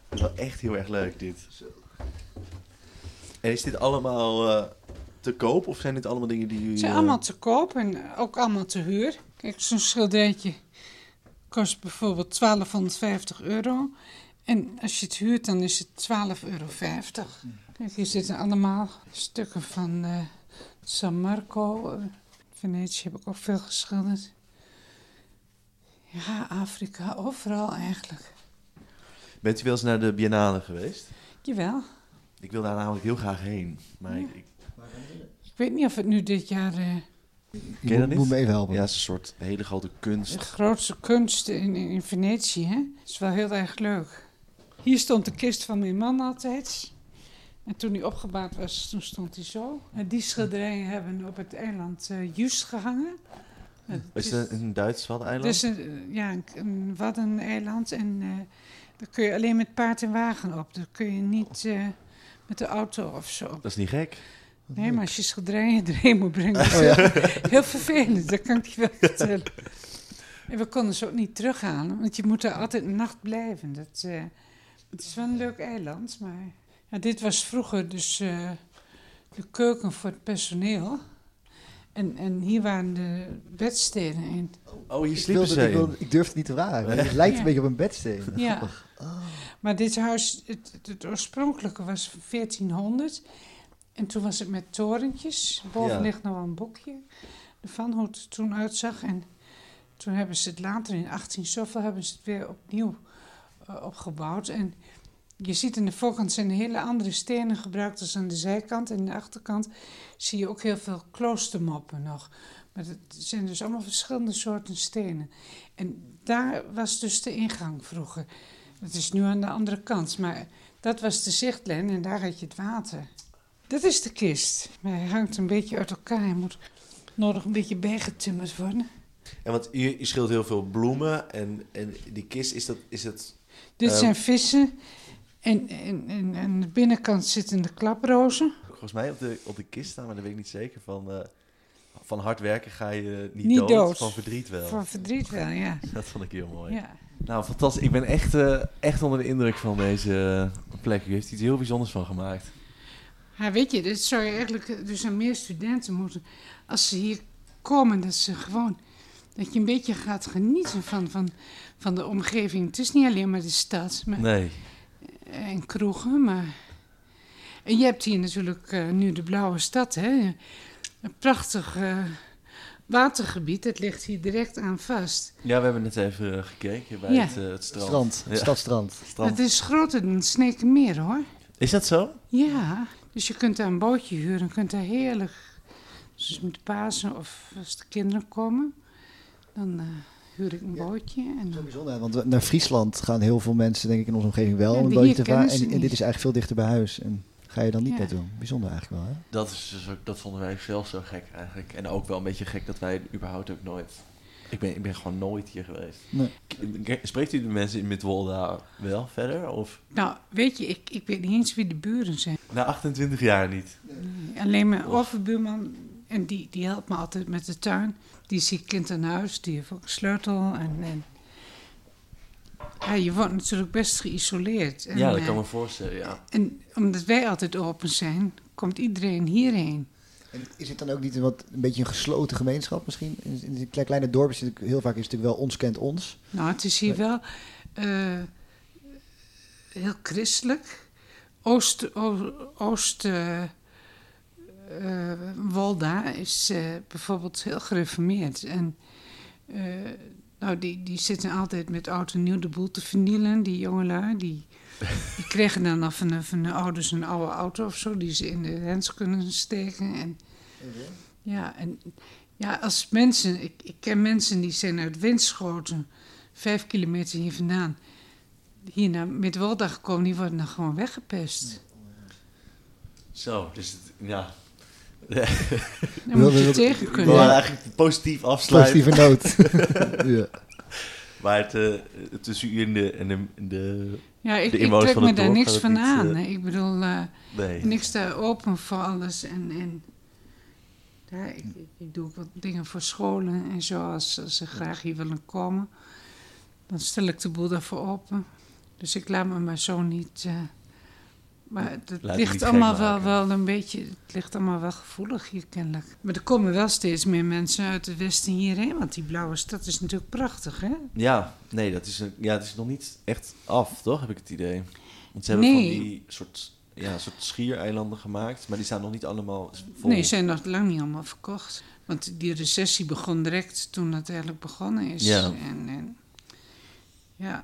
Speaker 8: Wel echt heel erg leuk dit. En is dit allemaal eh, te koop of zijn dit allemaal dingen die jullie...
Speaker 13: Het zijn
Speaker 8: eh,
Speaker 13: allemaal te koop en ook allemaal te huur. Kijk, zo'n schilderijtje kost bijvoorbeeld 1250 euro. En als je het huurt, dan is het 12,50 euro. Kijk, hier zitten allemaal stukken van eh, San Marco. eh, Venetië heb ik ook veel geschilderd. Ja, Afrika, overal eigenlijk.
Speaker 8: Bent u wel eens naar de Biennale geweest?
Speaker 13: Jawel.
Speaker 8: Ik wil daar namelijk heel graag heen. Maar ik, ik
Speaker 13: Ik weet niet of het nu dit jaar eh,
Speaker 8: ken dat
Speaker 14: moet-
Speaker 8: niet.
Speaker 14: moet me even helpen.
Speaker 8: Ja, het is een soort hele grote kunst.
Speaker 13: de grootste kunst in, in, in Venetië, hè? Dat is wel heel erg leuk. Hier stond de kist van mijn man altijd. En toen hij opgebaard was, toen stond hij zo. En die schilderijen hebben op het eiland eh Juist gehangen. Het
Speaker 8: Is dat een Duits waddeneiland?
Speaker 13: dus een, eh, ja, een, een waddeneiland en eh, daar kun je alleen met paard en wagen op. Daar kun je niet eh, met de auto of zo.
Speaker 8: Dat is niet gek.
Speaker 13: Nee, maar als je schilderijen erheen moet brengen, is
Speaker 8: Oh ja.
Speaker 13: heel- heel vervelend. Dat kan ik je wel vertellen. En we konden ze ook niet terughalen, want je moet daar altijd een nacht blijven. Dat, eh, het is wel een leuk eiland, maar... Ja, dit was vroeger dus eh, de keuken voor het personeel. En, en hier waren de bedsteden. En,
Speaker 8: Oh, hier
Speaker 14: Ik, wilde-
Speaker 8: sliepen ze
Speaker 14: ik, wilde-
Speaker 8: in.
Speaker 14: ik durf het niet te vragen. maar Het lijkt
Speaker 13: Ja.
Speaker 14: een beetje op een bedsteen.
Speaker 13: ja.
Speaker 8: Ah.
Speaker 13: Maar dit huis, het, het- het oorspronkelijke was van 1400. En toen was het met torentjes. Boven
Speaker 8: Ja.
Speaker 13: ligt nog wel een boekje ervan, hoe het er toen uitzag. En toen hebben ze het later in 18 zoveel hebben ze het weer opnieuw eh, opgebouwd. En Je ziet in de voorkant zijn hele andere stenen gebruikt als aan de zijkant. En aan de achterkant zie je ook heel veel kloostermappen nog. Maar het zijn dus allemaal verschillende soorten stenen. En daar was dus de ingang vroeger. Dat is nu aan de andere kant. Maar dat was de zichtlijn en daar had je het water. Dat is de kist. Maar hij hangt een beetje uit elkaar. Hij moet nodig een beetje bijgetimmerd worden.
Speaker 8: En want je, je scheelt heel veel bloemen en, en die kist, is dat... Is dat
Speaker 13: Dit
Speaker 8: eh,
Speaker 13: zijn vissen. En, en, en aan de binnenkant zitten de klaprozen.
Speaker 8: Volgens mij op de, op de kist staan, maar dat weet ik niet zeker. Van, eh, van hard werken ga je niet,
Speaker 13: Niet
Speaker 8: dood,
Speaker 13: dood.
Speaker 8: van verdriet wel.
Speaker 13: Van verdriet wel, ja.
Speaker 8: Dat vond ik heel mooi.
Speaker 13: Ja.
Speaker 16: Nou, fantastisch. Ik ben echt, eh, echt onder de indruk van deze eh, plek. U heeft iets heel bijzonders van gemaakt.
Speaker 13: Maar weet je, dit zou je eigenlijk dus aan meer studenten moeten... als ze hier komen, dat ze gewoon... dat je een beetje gaat genieten van, van, van de omgeving. Het is niet alleen maar de stad maar,
Speaker 16: Nee.
Speaker 13: en kroegen, maar... En je hebt hier natuurlijk eh, nu de Blauwe Stad, hè? Een prachtig eh, watergebied, dat ligt hier direct aan vast.
Speaker 16: Ja, we hebben net even eh, gekeken bij
Speaker 13: Ja.
Speaker 16: het, eh, het strand.
Speaker 7: Strand,
Speaker 16: Ja.
Speaker 7: stadstrand.
Speaker 16: Strand.
Speaker 13: Het is groter dan het Snekenmeer, hoor.
Speaker 16: Is dat zo?
Speaker 13: Ja, dus je kunt daar een bootje huren en kunt daar heerlijk. Dus met Pasen of als de kinderen komen, dan eh, huur ik een bootje. En dan...
Speaker 7: Ja, want we- naar Friesland gaan heel veel mensen, denk ik, in onze omgeving wel.
Speaker 13: Ja,
Speaker 7: om een
Speaker 13: die-
Speaker 7: bootje
Speaker 13: hier
Speaker 7: te
Speaker 13: kennen
Speaker 7: varen.
Speaker 13: ze
Speaker 7: En, en
Speaker 13: niet.
Speaker 7: dit is eigenlijk veel dichter bij huis. En ga je dan niet
Speaker 13: Ja.
Speaker 7: naartoe. Bijzonder eigenlijk wel, hè?
Speaker 8: Dat, is dus ook, dat vonden wij zelf zo gek eigenlijk. En ook wel een beetje gek dat wij überhaupt ook nooit... Ik ben, ik ben gewoon nooit hier geweest.
Speaker 7: Nee.
Speaker 8: K- Spreekt u de mensen in Midwolda wel verder? Of?
Speaker 13: Nou, weet je, ik, ik weet niet eens wie de buren zijn.
Speaker 8: Na 28 jaar niet.
Speaker 13: Alleen mijn overbuurman, en die, die helpt me altijd met de tuin. Die is hier kind aan huis, die heeft ook een sleutel. En, en... Ja, je wordt natuurlijk best geïsoleerd. En,
Speaker 8: Ja, dat
Speaker 13: eh,
Speaker 8: kan me voorstellen, ja.
Speaker 13: En omdat wij altijd open zijn, komt iedereen hierheen.
Speaker 7: En is het dan ook niet een, wat, een beetje een gesloten gemeenschap misschien? In, in die kle- kleine dorpen is het natuurlijk- heel vaak is het natuurlijk wel ons kent ons.
Speaker 13: Nou, het is hier wel eh, heel christelijk. Oost, o- Oost eh, eh, Wolda is eh, bijvoorbeeld heel gereformeerd. En eh, nou, die, die zitten altijd met oud en nieuw de boel te vernielen, die jongelui. Die, die kregen dan af van, hun- van hun ouders een oude auto of zo, die ze in de hens kunnen steken. En, ja, en ja, als mensen, ik, ik ken mensen die zijn uit Winschoten, vijf kilometer hier vandaan, hier naar Midwolda gekomen, die worden dan gewoon weggepest.
Speaker 8: Zo, dus het, ja.
Speaker 13: Daar moet je tegen kunnen.
Speaker 8: We willen eigenlijk positief afsluiten.
Speaker 7: Positieve noot. ja.
Speaker 8: Maar het, eh, tussen u en de, en de, en de,
Speaker 13: Ja, ik,
Speaker 8: de
Speaker 13: ik
Speaker 8: inwoners
Speaker 13: trek
Speaker 8: van
Speaker 13: me
Speaker 8: het
Speaker 13: daar
Speaker 8: dorp
Speaker 13: niks
Speaker 8: gaat
Speaker 13: van
Speaker 8: het niet,
Speaker 13: aan.
Speaker 8: eh,
Speaker 13: hè. ik bedoel, eh,
Speaker 8: nee.
Speaker 13: niks daar open voor alles. En, en ja, ik, ik- ik doe ook wat dingen voor scholen en zo. Als, als ze graag hier willen komen, dan stel ik de boel daarvoor open. Dus ik laat me maar zo niet. eh, maar het, het
Speaker 8: Laat je niet
Speaker 13: ligt
Speaker 8: gek
Speaker 13: allemaal wel,
Speaker 8: maken.
Speaker 13: wel een beetje. Het ligt allemaal wel gevoelig hier kennelijk. Maar er komen wel steeds meer mensen uit het westen hierheen. Want die blauwe stad is natuurlijk prachtig, hè?
Speaker 8: Ja, nee, dat is, een, ja, het is nog niet echt af, toch? Heb ik het idee. Want ze hebben
Speaker 13: Nee.
Speaker 8: van die soort, ja, soort schiereilanden gemaakt, maar die staan nog niet allemaal vol.
Speaker 13: Nee, zijn nog lang niet allemaal verkocht. Want die recessie begon direct toen het eigenlijk begonnen is.
Speaker 8: Ja.
Speaker 13: En, en, ja.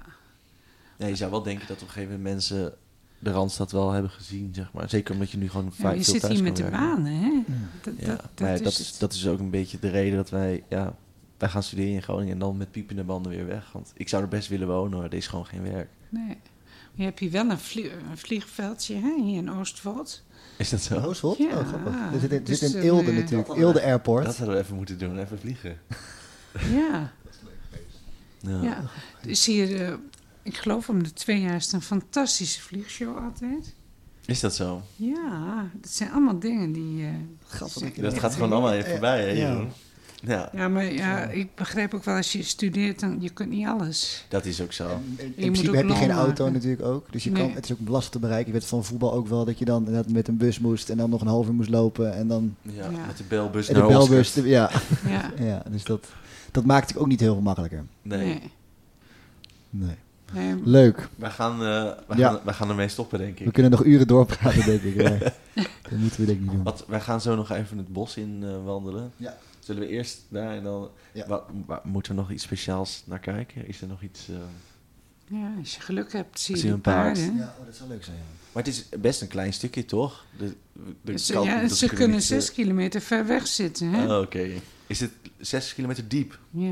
Speaker 8: Ja, je zou wel denken dat op een gegeven moment mensen de Randstad wel hebben gezien, zeg maar. Zeker omdat je nu gewoon
Speaker 13: ja
Speaker 8: vaak
Speaker 13: je
Speaker 8: veel
Speaker 13: zit
Speaker 8: thuis
Speaker 13: hier
Speaker 8: kan
Speaker 13: met de
Speaker 8: werken.
Speaker 13: banen, hè? Dat,
Speaker 8: Ja,
Speaker 13: dat,
Speaker 8: maar ja,
Speaker 13: dat is het.
Speaker 8: dat is ook een beetje de reden dat wij, ja, wij gaan studeren in Groningen en dan met piepende banden weer weg. Want ik zou er best willen wonen, maar er is gewoon geen werk.
Speaker 13: Nee. Je hebt hier wel een, vlie- een vliegveldje, hè? Hier in Oostwold.
Speaker 8: Is dat zo?
Speaker 7: Oostwold?
Speaker 13: Ja.
Speaker 7: Oh, grappig. Er zit in,
Speaker 13: Dus,
Speaker 7: zit in
Speaker 13: eh,
Speaker 7: Eelde natuurlijk.
Speaker 13: dat-
Speaker 7: Eelde Airport.
Speaker 8: Dat zouden we even moeten doen, even vliegen.
Speaker 13: Ja.
Speaker 8: Ja.
Speaker 13: Ja, dus hier, eh, ik geloof om de twee jaar is het een fantastische vliegshow altijd.
Speaker 8: Is dat zo?
Speaker 13: Ja, dat zijn allemaal dingen die... eh
Speaker 7: Grappig.
Speaker 8: Dat gaat gewoon allemaal even voorbij, hè,
Speaker 7: Ja.
Speaker 8: Jeroen? Ja,
Speaker 13: Ja, maar ja, ik begrijp ook wel als je studeert, dan je kunt niet alles.
Speaker 8: dat is ook zo.
Speaker 7: In
Speaker 13: moet ook
Speaker 7: principe heb je geen
Speaker 13: lang
Speaker 7: auto
Speaker 13: maken.
Speaker 7: natuurlijk ook. Dus je
Speaker 13: Nee.
Speaker 7: kan, het is ook lastig te bereiken. Je weet van voetbal ook wel dat je dan inderdaad met een bus moest. En dan nog een half uur moest lopen. En dan
Speaker 8: Ja, met de belbus
Speaker 7: en de
Speaker 8: naar
Speaker 7: belbus.
Speaker 8: Oscar.
Speaker 7: te- ja.
Speaker 13: Ja.
Speaker 7: Ja. dus dat, dat maakt het ook niet heel veel makkelijker.
Speaker 8: Nee.
Speaker 7: Nee.
Speaker 13: Nee.
Speaker 7: Leuk.
Speaker 8: Wij gaan, eh wij
Speaker 7: Ja.
Speaker 8: gaan, wij gaan ermee stoppen, denk ik.
Speaker 7: We kunnen nog uren doorpraten, denk ik. maar dat moeten we denk ik niet doen.
Speaker 8: Wat, wij gaan zo nog even het bos in eh, wandelen.
Speaker 7: Ja.
Speaker 8: Zullen we eerst daar en dan... Wat, wa- moeten we nog iets speciaals naar kijken? Is er nog iets... eh,
Speaker 13: Ja, als je geluk hebt, zie je
Speaker 8: Zie je
Speaker 13: die
Speaker 8: een paard.
Speaker 13: paarden.
Speaker 7: Ja, oh, dat zou leuk zijn.
Speaker 8: Maar het is best een klein stukje, toch? De, de
Speaker 13: Ze,
Speaker 8: kant-
Speaker 13: ja,
Speaker 8: dat
Speaker 13: ze kunnen
Speaker 8: niet, eh,
Speaker 13: zes kilometer ver weg zitten. Hè?
Speaker 8: Oh, Oké. Is het zes kilometer diep? Oké,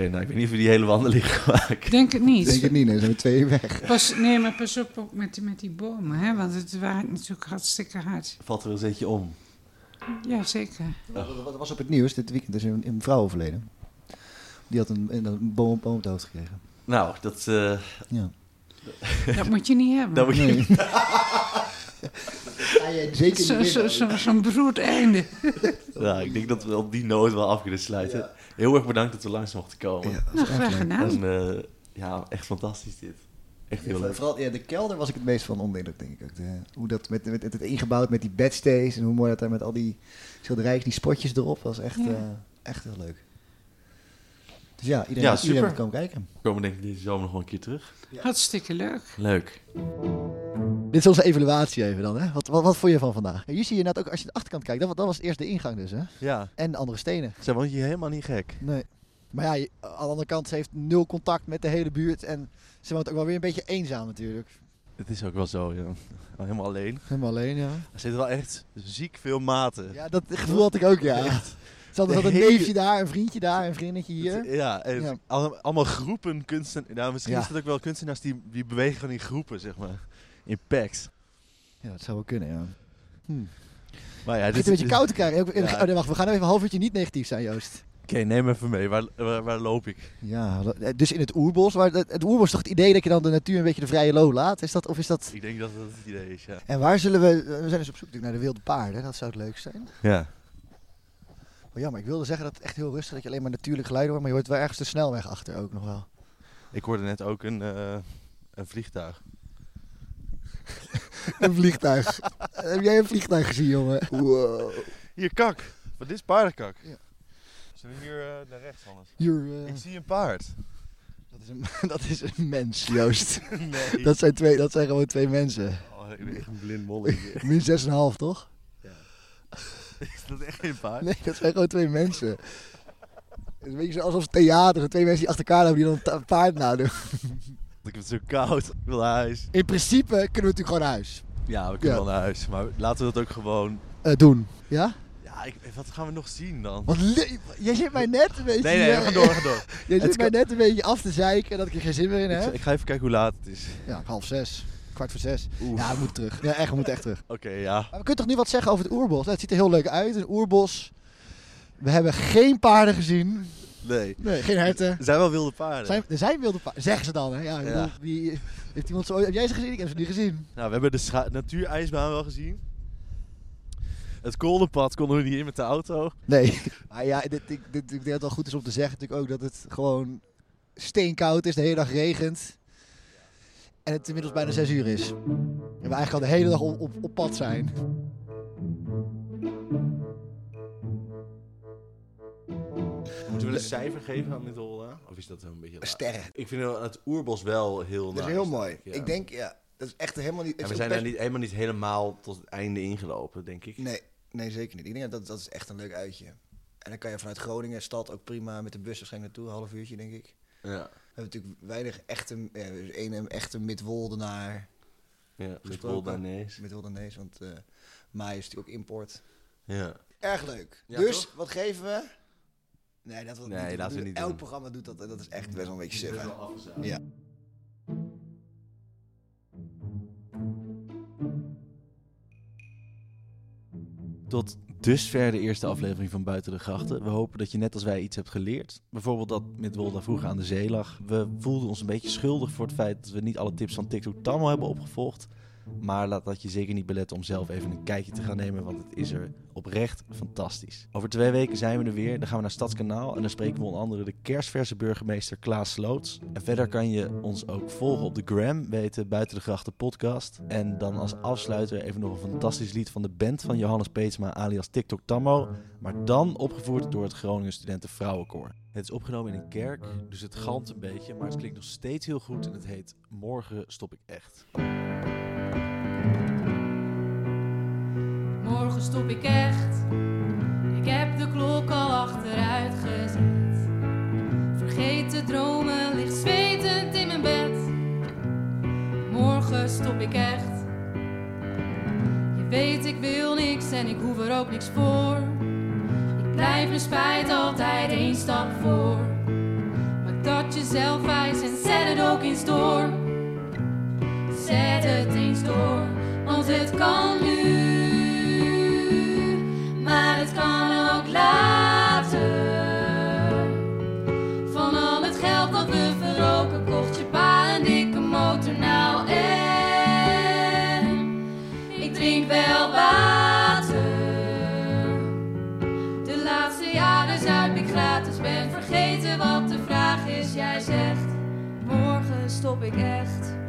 Speaker 13: Ja.
Speaker 8: nou, ik weet niet of we die hele wandeling gaan maken.
Speaker 13: Denk het niet.
Speaker 7: Denk het niet, nee, zijn we twee weg.
Speaker 13: Pas, nee, maar pas op ook met, die- met die bomen, hè? want het waait natuurlijk hartstikke hard.
Speaker 8: Valt er een zetje om.
Speaker 13: Ja, zeker.
Speaker 7: Wat was op het nieuws dit weekend? Er is een, een vrouw overleden. Die had een, een, een boom op boom op het hoofd gekregen.
Speaker 8: Nou, dat... eh,
Speaker 7: Ja.
Speaker 13: Dat moet je niet hebben.
Speaker 8: Dat moet je
Speaker 7: Nee.
Speaker 8: niet.
Speaker 7: Ga je zeker niet
Speaker 13: Zo'n
Speaker 7: winnen,
Speaker 13: zo,
Speaker 7: hoor.
Speaker 13: zo, zo'n beroerd einde.
Speaker 8: nou, ik denk dat we op die noot wel af kunnen sluiten. Heel erg bedankt dat we langs mochten komen. Ja,
Speaker 13: Nou, graag gedaan.
Speaker 8: En, eh, ja, echt fantastisch dit. Echt heel
Speaker 7: Ja,
Speaker 8: leuk.
Speaker 7: vooral ja, de kelder was ik het meest van onder de indruk, denk ik. Ook de, hoe dat met, met, het ingebouwd met die bedstays en hoe mooi dat daar met al die schilderijtjes, die spotjes erop, was echt,
Speaker 13: Ja.
Speaker 7: eh, echt heel leuk. Dus ja, iedereen,
Speaker 8: Ja,
Speaker 7: iedereen
Speaker 8: super.
Speaker 7: moet komen kijken.
Speaker 8: We komen denk ik deze zomer nog wel een keer terug.
Speaker 13: Hartstikke leuk.
Speaker 8: Leuk.
Speaker 7: Dit is onze evaluatie even dan, hè? Wat, wat, wat vond je van vandaag? Hier zie je net ook, als je de achterkant kijkt, dat, dat was eerst de ingang dus, hè?
Speaker 8: Ja.
Speaker 7: En andere stenen.
Speaker 8: Zij woont hier helemaal niet gek.
Speaker 7: Nee. Maar ja, je- aan de andere kant, ze heeft nul contact met de hele buurt en ze woont ook wel weer een beetje eenzaam natuurlijk.
Speaker 8: Het is ook wel zo, ja. Helemaal alleen.
Speaker 7: Helemaal alleen, ja.
Speaker 8: Er zitten wel echt ziek veel maten.
Speaker 7: Ja, dat gevoel had ik ook, ja.
Speaker 8: Echt.
Speaker 7: Ze hadden
Speaker 8: De
Speaker 7: had een
Speaker 8: hele-
Speaker 7: neefje daar, een vriendje daar, een vriendinnetje hier.
Speaker 8: Ja, en
Speaker 7: Ja.
Speaker 8: al- allemaal groepen kunstenaars. Nou, misschien
Speaker 7: Ja.
Speaker 8: is dat ook wel kunstenaars die, die bewegen gewoon in groepen, zeg maar. In packs.
Speaker 7: Ja, dat zou wel kunnen, ja. Hm.
Speaker 8: Maar ja,
Speaker 7: Het
Speaker 8: dit
Speaker 7: zit een beetje
Speaker 8: dit-
Speaker 7: koud te krijgen. Ook-
Speaker 8: Ja.
Speaker 7: oh, nee, wacht, we gaan even een half uurtje niet negatief zijn, Joost.
Speaker 8: Oké, neem even mee. Waar, waar, waar loop ik?
Speaker 7: Ja, dus in het oerbos. Waar, het het oerbos is toch het idee dat je dan de natuur een beetje de vrije loop laat? Is dat, of is dat...
Speaker 8: Ik denk dat dat het idee is, ja.
Speaker 7: En waar zullen we... We zijn dus op zoek natuurlijk naar de wilde paarden. Dat zou het leukst zijn.
Speaker 8: Ja.
Speaker 7: Oh, ja, maar ik wilde zeggen dat het echt heel rustig dat je alleen maar natuurlijk geluiden hoort. Maar je hoort wel ergens de snelweg achter ook nog wel.
Speaker 8: Ik hoorde net ook een, eh, een vliegtuig.
Speaker 7: Een vliegtuig. Heb jij een vliegtuig gezien, jongen? Wow.
Speaker 8: Hier, kak. Wat is paardenkak? Zullen we hier eh, naar rechts, anders?
Speaker 7: Hier, eh,
Speaker 8: Ik zie een paard.
Speaker 7: Dat is een, dat is een mens, Joost.
Speaker 8: Nee.
Speaker 7: Dat, zijn twee, dat zijn gewoon twee mensen.
Speaker 8: Oh, ik ben echt een blind molling.
Speaker 7: Min 6,5, toch?
Speaker 8: is dat echt geen paard?
Speaker 7: Nee, dat zijn gewoon twee mensen. Het is een beetje zo alsof het theater, zo twee mensen die achter elkaar lopen die dan een ta- paard nadoen.
Speaker 8: Ik heb het zo koud. Ik wil naar huis.
Speaker 7: In principe kunnen we natuurlijk gewoon naar huis
Speaker 8: Ja, we kunnen
Speaker 7: Ja.
Speaker 8: wel naar huis. Maar laten we dat ook gewoon...
Speaker 7: eh, doen. Ja?
Speaker 8: Ja, ik, wat gaan we nog zien dan?
Speaker 7: Want le- jij zit mij net een beetje... eh,
Speaker 8: Nee, nee, we gaan door, we gaan door.
Speaker 7: Jij
Speaker 8: Het
Speaker 7: zit mij
Speaker 8: kan-
Speaker 7: net een beetje af te zeiken dat ik er geen zin meer in
Speaker 8: Ik,
Speaker 7: heb.
Speaker 8: ik ga even kijken hoe laat het is.
Speaker 7: Ja, half zes. Kwart voor zes. Ja, we moeten terug. Ja, echt, we moeten echt terug.
Speaker 8: Oké, ja.
Speaker 7: Maar we kunnen toch nu wat zeggen over het oerbos? Nou, het ziet er heel leuk uit, een oerbos. We hebben geen paarden gezien.
Speaker 8: Nee.
Speaker 7: Nee, geen herten.
Speaker 8: Er zijn wel wilde paarden.
Speaker 7: Zijn, er zijn wilde paarden. Zeggen ze dan, hè? Ja, ik
Speaker 8: Ja.
Speaker 7: bedoel, wie, heeft iemand zo, heb jij ze gezien? Ik heb ze niet gezien.
Speaker 8: Nou, we hebben de scha- natuurijsbaan wel gezien. Het koldenpad konden we niet in met de auto.
Speaker 7: Nee. Maar ja, dit, ik, dit, ik denk dat het wel goed is om te zeggen natuurlijk ook dat het gewoon steenkoud is, de hele dag regent. En het inmiddels bijna zes uur is. En we eigenlijk al de hele dag op, op, op pad zijn.
Speaker 8: Moeten we een cijfer geven aan dit Holland? Of is dat een beetje... laag?
Speaker 17: Sterren.
Speaker 8: Ik vind wel het oerbos wel heel
Speaker 17: Dat
Speaker 8: nice.
Speaker 17: is heel mooi.
Speaker 8: Ja.
Speaker 17: Ik denk, ja, dat is echt helemaal niet... het
Speaker 8: En we
Speaker 17: is
Speaker 8: zijn
Speaker 17: ook
Speaker 8: er niet, helemaal niet helemaal tot het einde ingelopen, denk ik.
Speaker 17: Nee, nee, zeker niet. Ik denk dat dat is echt een leuk uitje. En dan kan je vanuit Groningen, stad, ook prima met de bus waarschijnlijk naartoe. Een half uurtje, denk ik.
Speaker 8: Ja.
Speaker 17: We hebben natuurlijk weinig echte... Ja, er is één eh, echte Midwoldenaar
Speaker 8: Ja, met
Speaker 17: gesproken.
Speaker 8: Holdanees.
Speaker 17: Midwoldenees, want eh Maai is natuurlijk ook import.
Speaker 8: Ja.
Speaker 17: Erg leuk.
Speaker 8: Ja,
Speaker 17: dus,
Speaker 8: toch?
Speaker 17: wat geven we? Nee, dat wil ik
Speaker 8: Nee,
Speaker 17: niet doen.
Speaker 8: laten we niet
Speaker 17: Elk
Speaker 8: doen.
Speaker 17: programma doet dat en dat is echt best wel een beetje suf.
Speaker 8: Best
Speaker 17: hè?
Speaker 8: wel afgezaagd.
Speaker 17: Ja.
Speaker 18: Tot dusver de eerste aflevering van Buiten de Grachten. We hopen dat je net als wij iets hebt geleerd. Bijvoorbeeld dat Midwolda vroeger aan de zee lag. We voelden ons een beetje schuldig voor het feit dat we niet alle tips van TikTok Tammo hebben opgevolgd. Maar laat dat je zeker niet beletten om zelf even een kijkje te gaan nemen, want het is er oprecht fantastisch. Over twee weken zijn we er weer. Dan gaan we naar Stadskanaal en dan spreken we onder andere de kerstverse burgemeester Klaas Sloots. En verder kan je ons ook volgen op de gram, weten Buiten de Grachten podcast. En dan als afsluiter even nog een fantastisch lied van de band van Johannes Peetsma alias TikTok Tammo. Maar dan opgevoerd door het Groningen Studenten Vrouwenkoor. Het is opgenomen in een kerk, dus het galmt een beetje, maar het klinkt nog steeds heel goed en het heet Morgen stop ik echt.
Speaker 19: Morgen stop ik echt. Ik heb de klok al achteruit gezet. Vergeet te dromen, ligt zwetend in stop ik echt. Je weet, ik wil niks en ik hoef er ook niks voor. Ik blijf mijn spijt altijd één stap voor. Maak dat jezelf wijs en zet het ook eens door. Zet het eens door, want het kan nu. Maar het kan ook later. Van al het geld dat we verroken, kocht je pa een dikke motor. Nou, en ik drink wel water. De laatste jaren zuip ik gratis, ben vergeten wat de vraag is. Jij zegt: Morgen stop ik echt.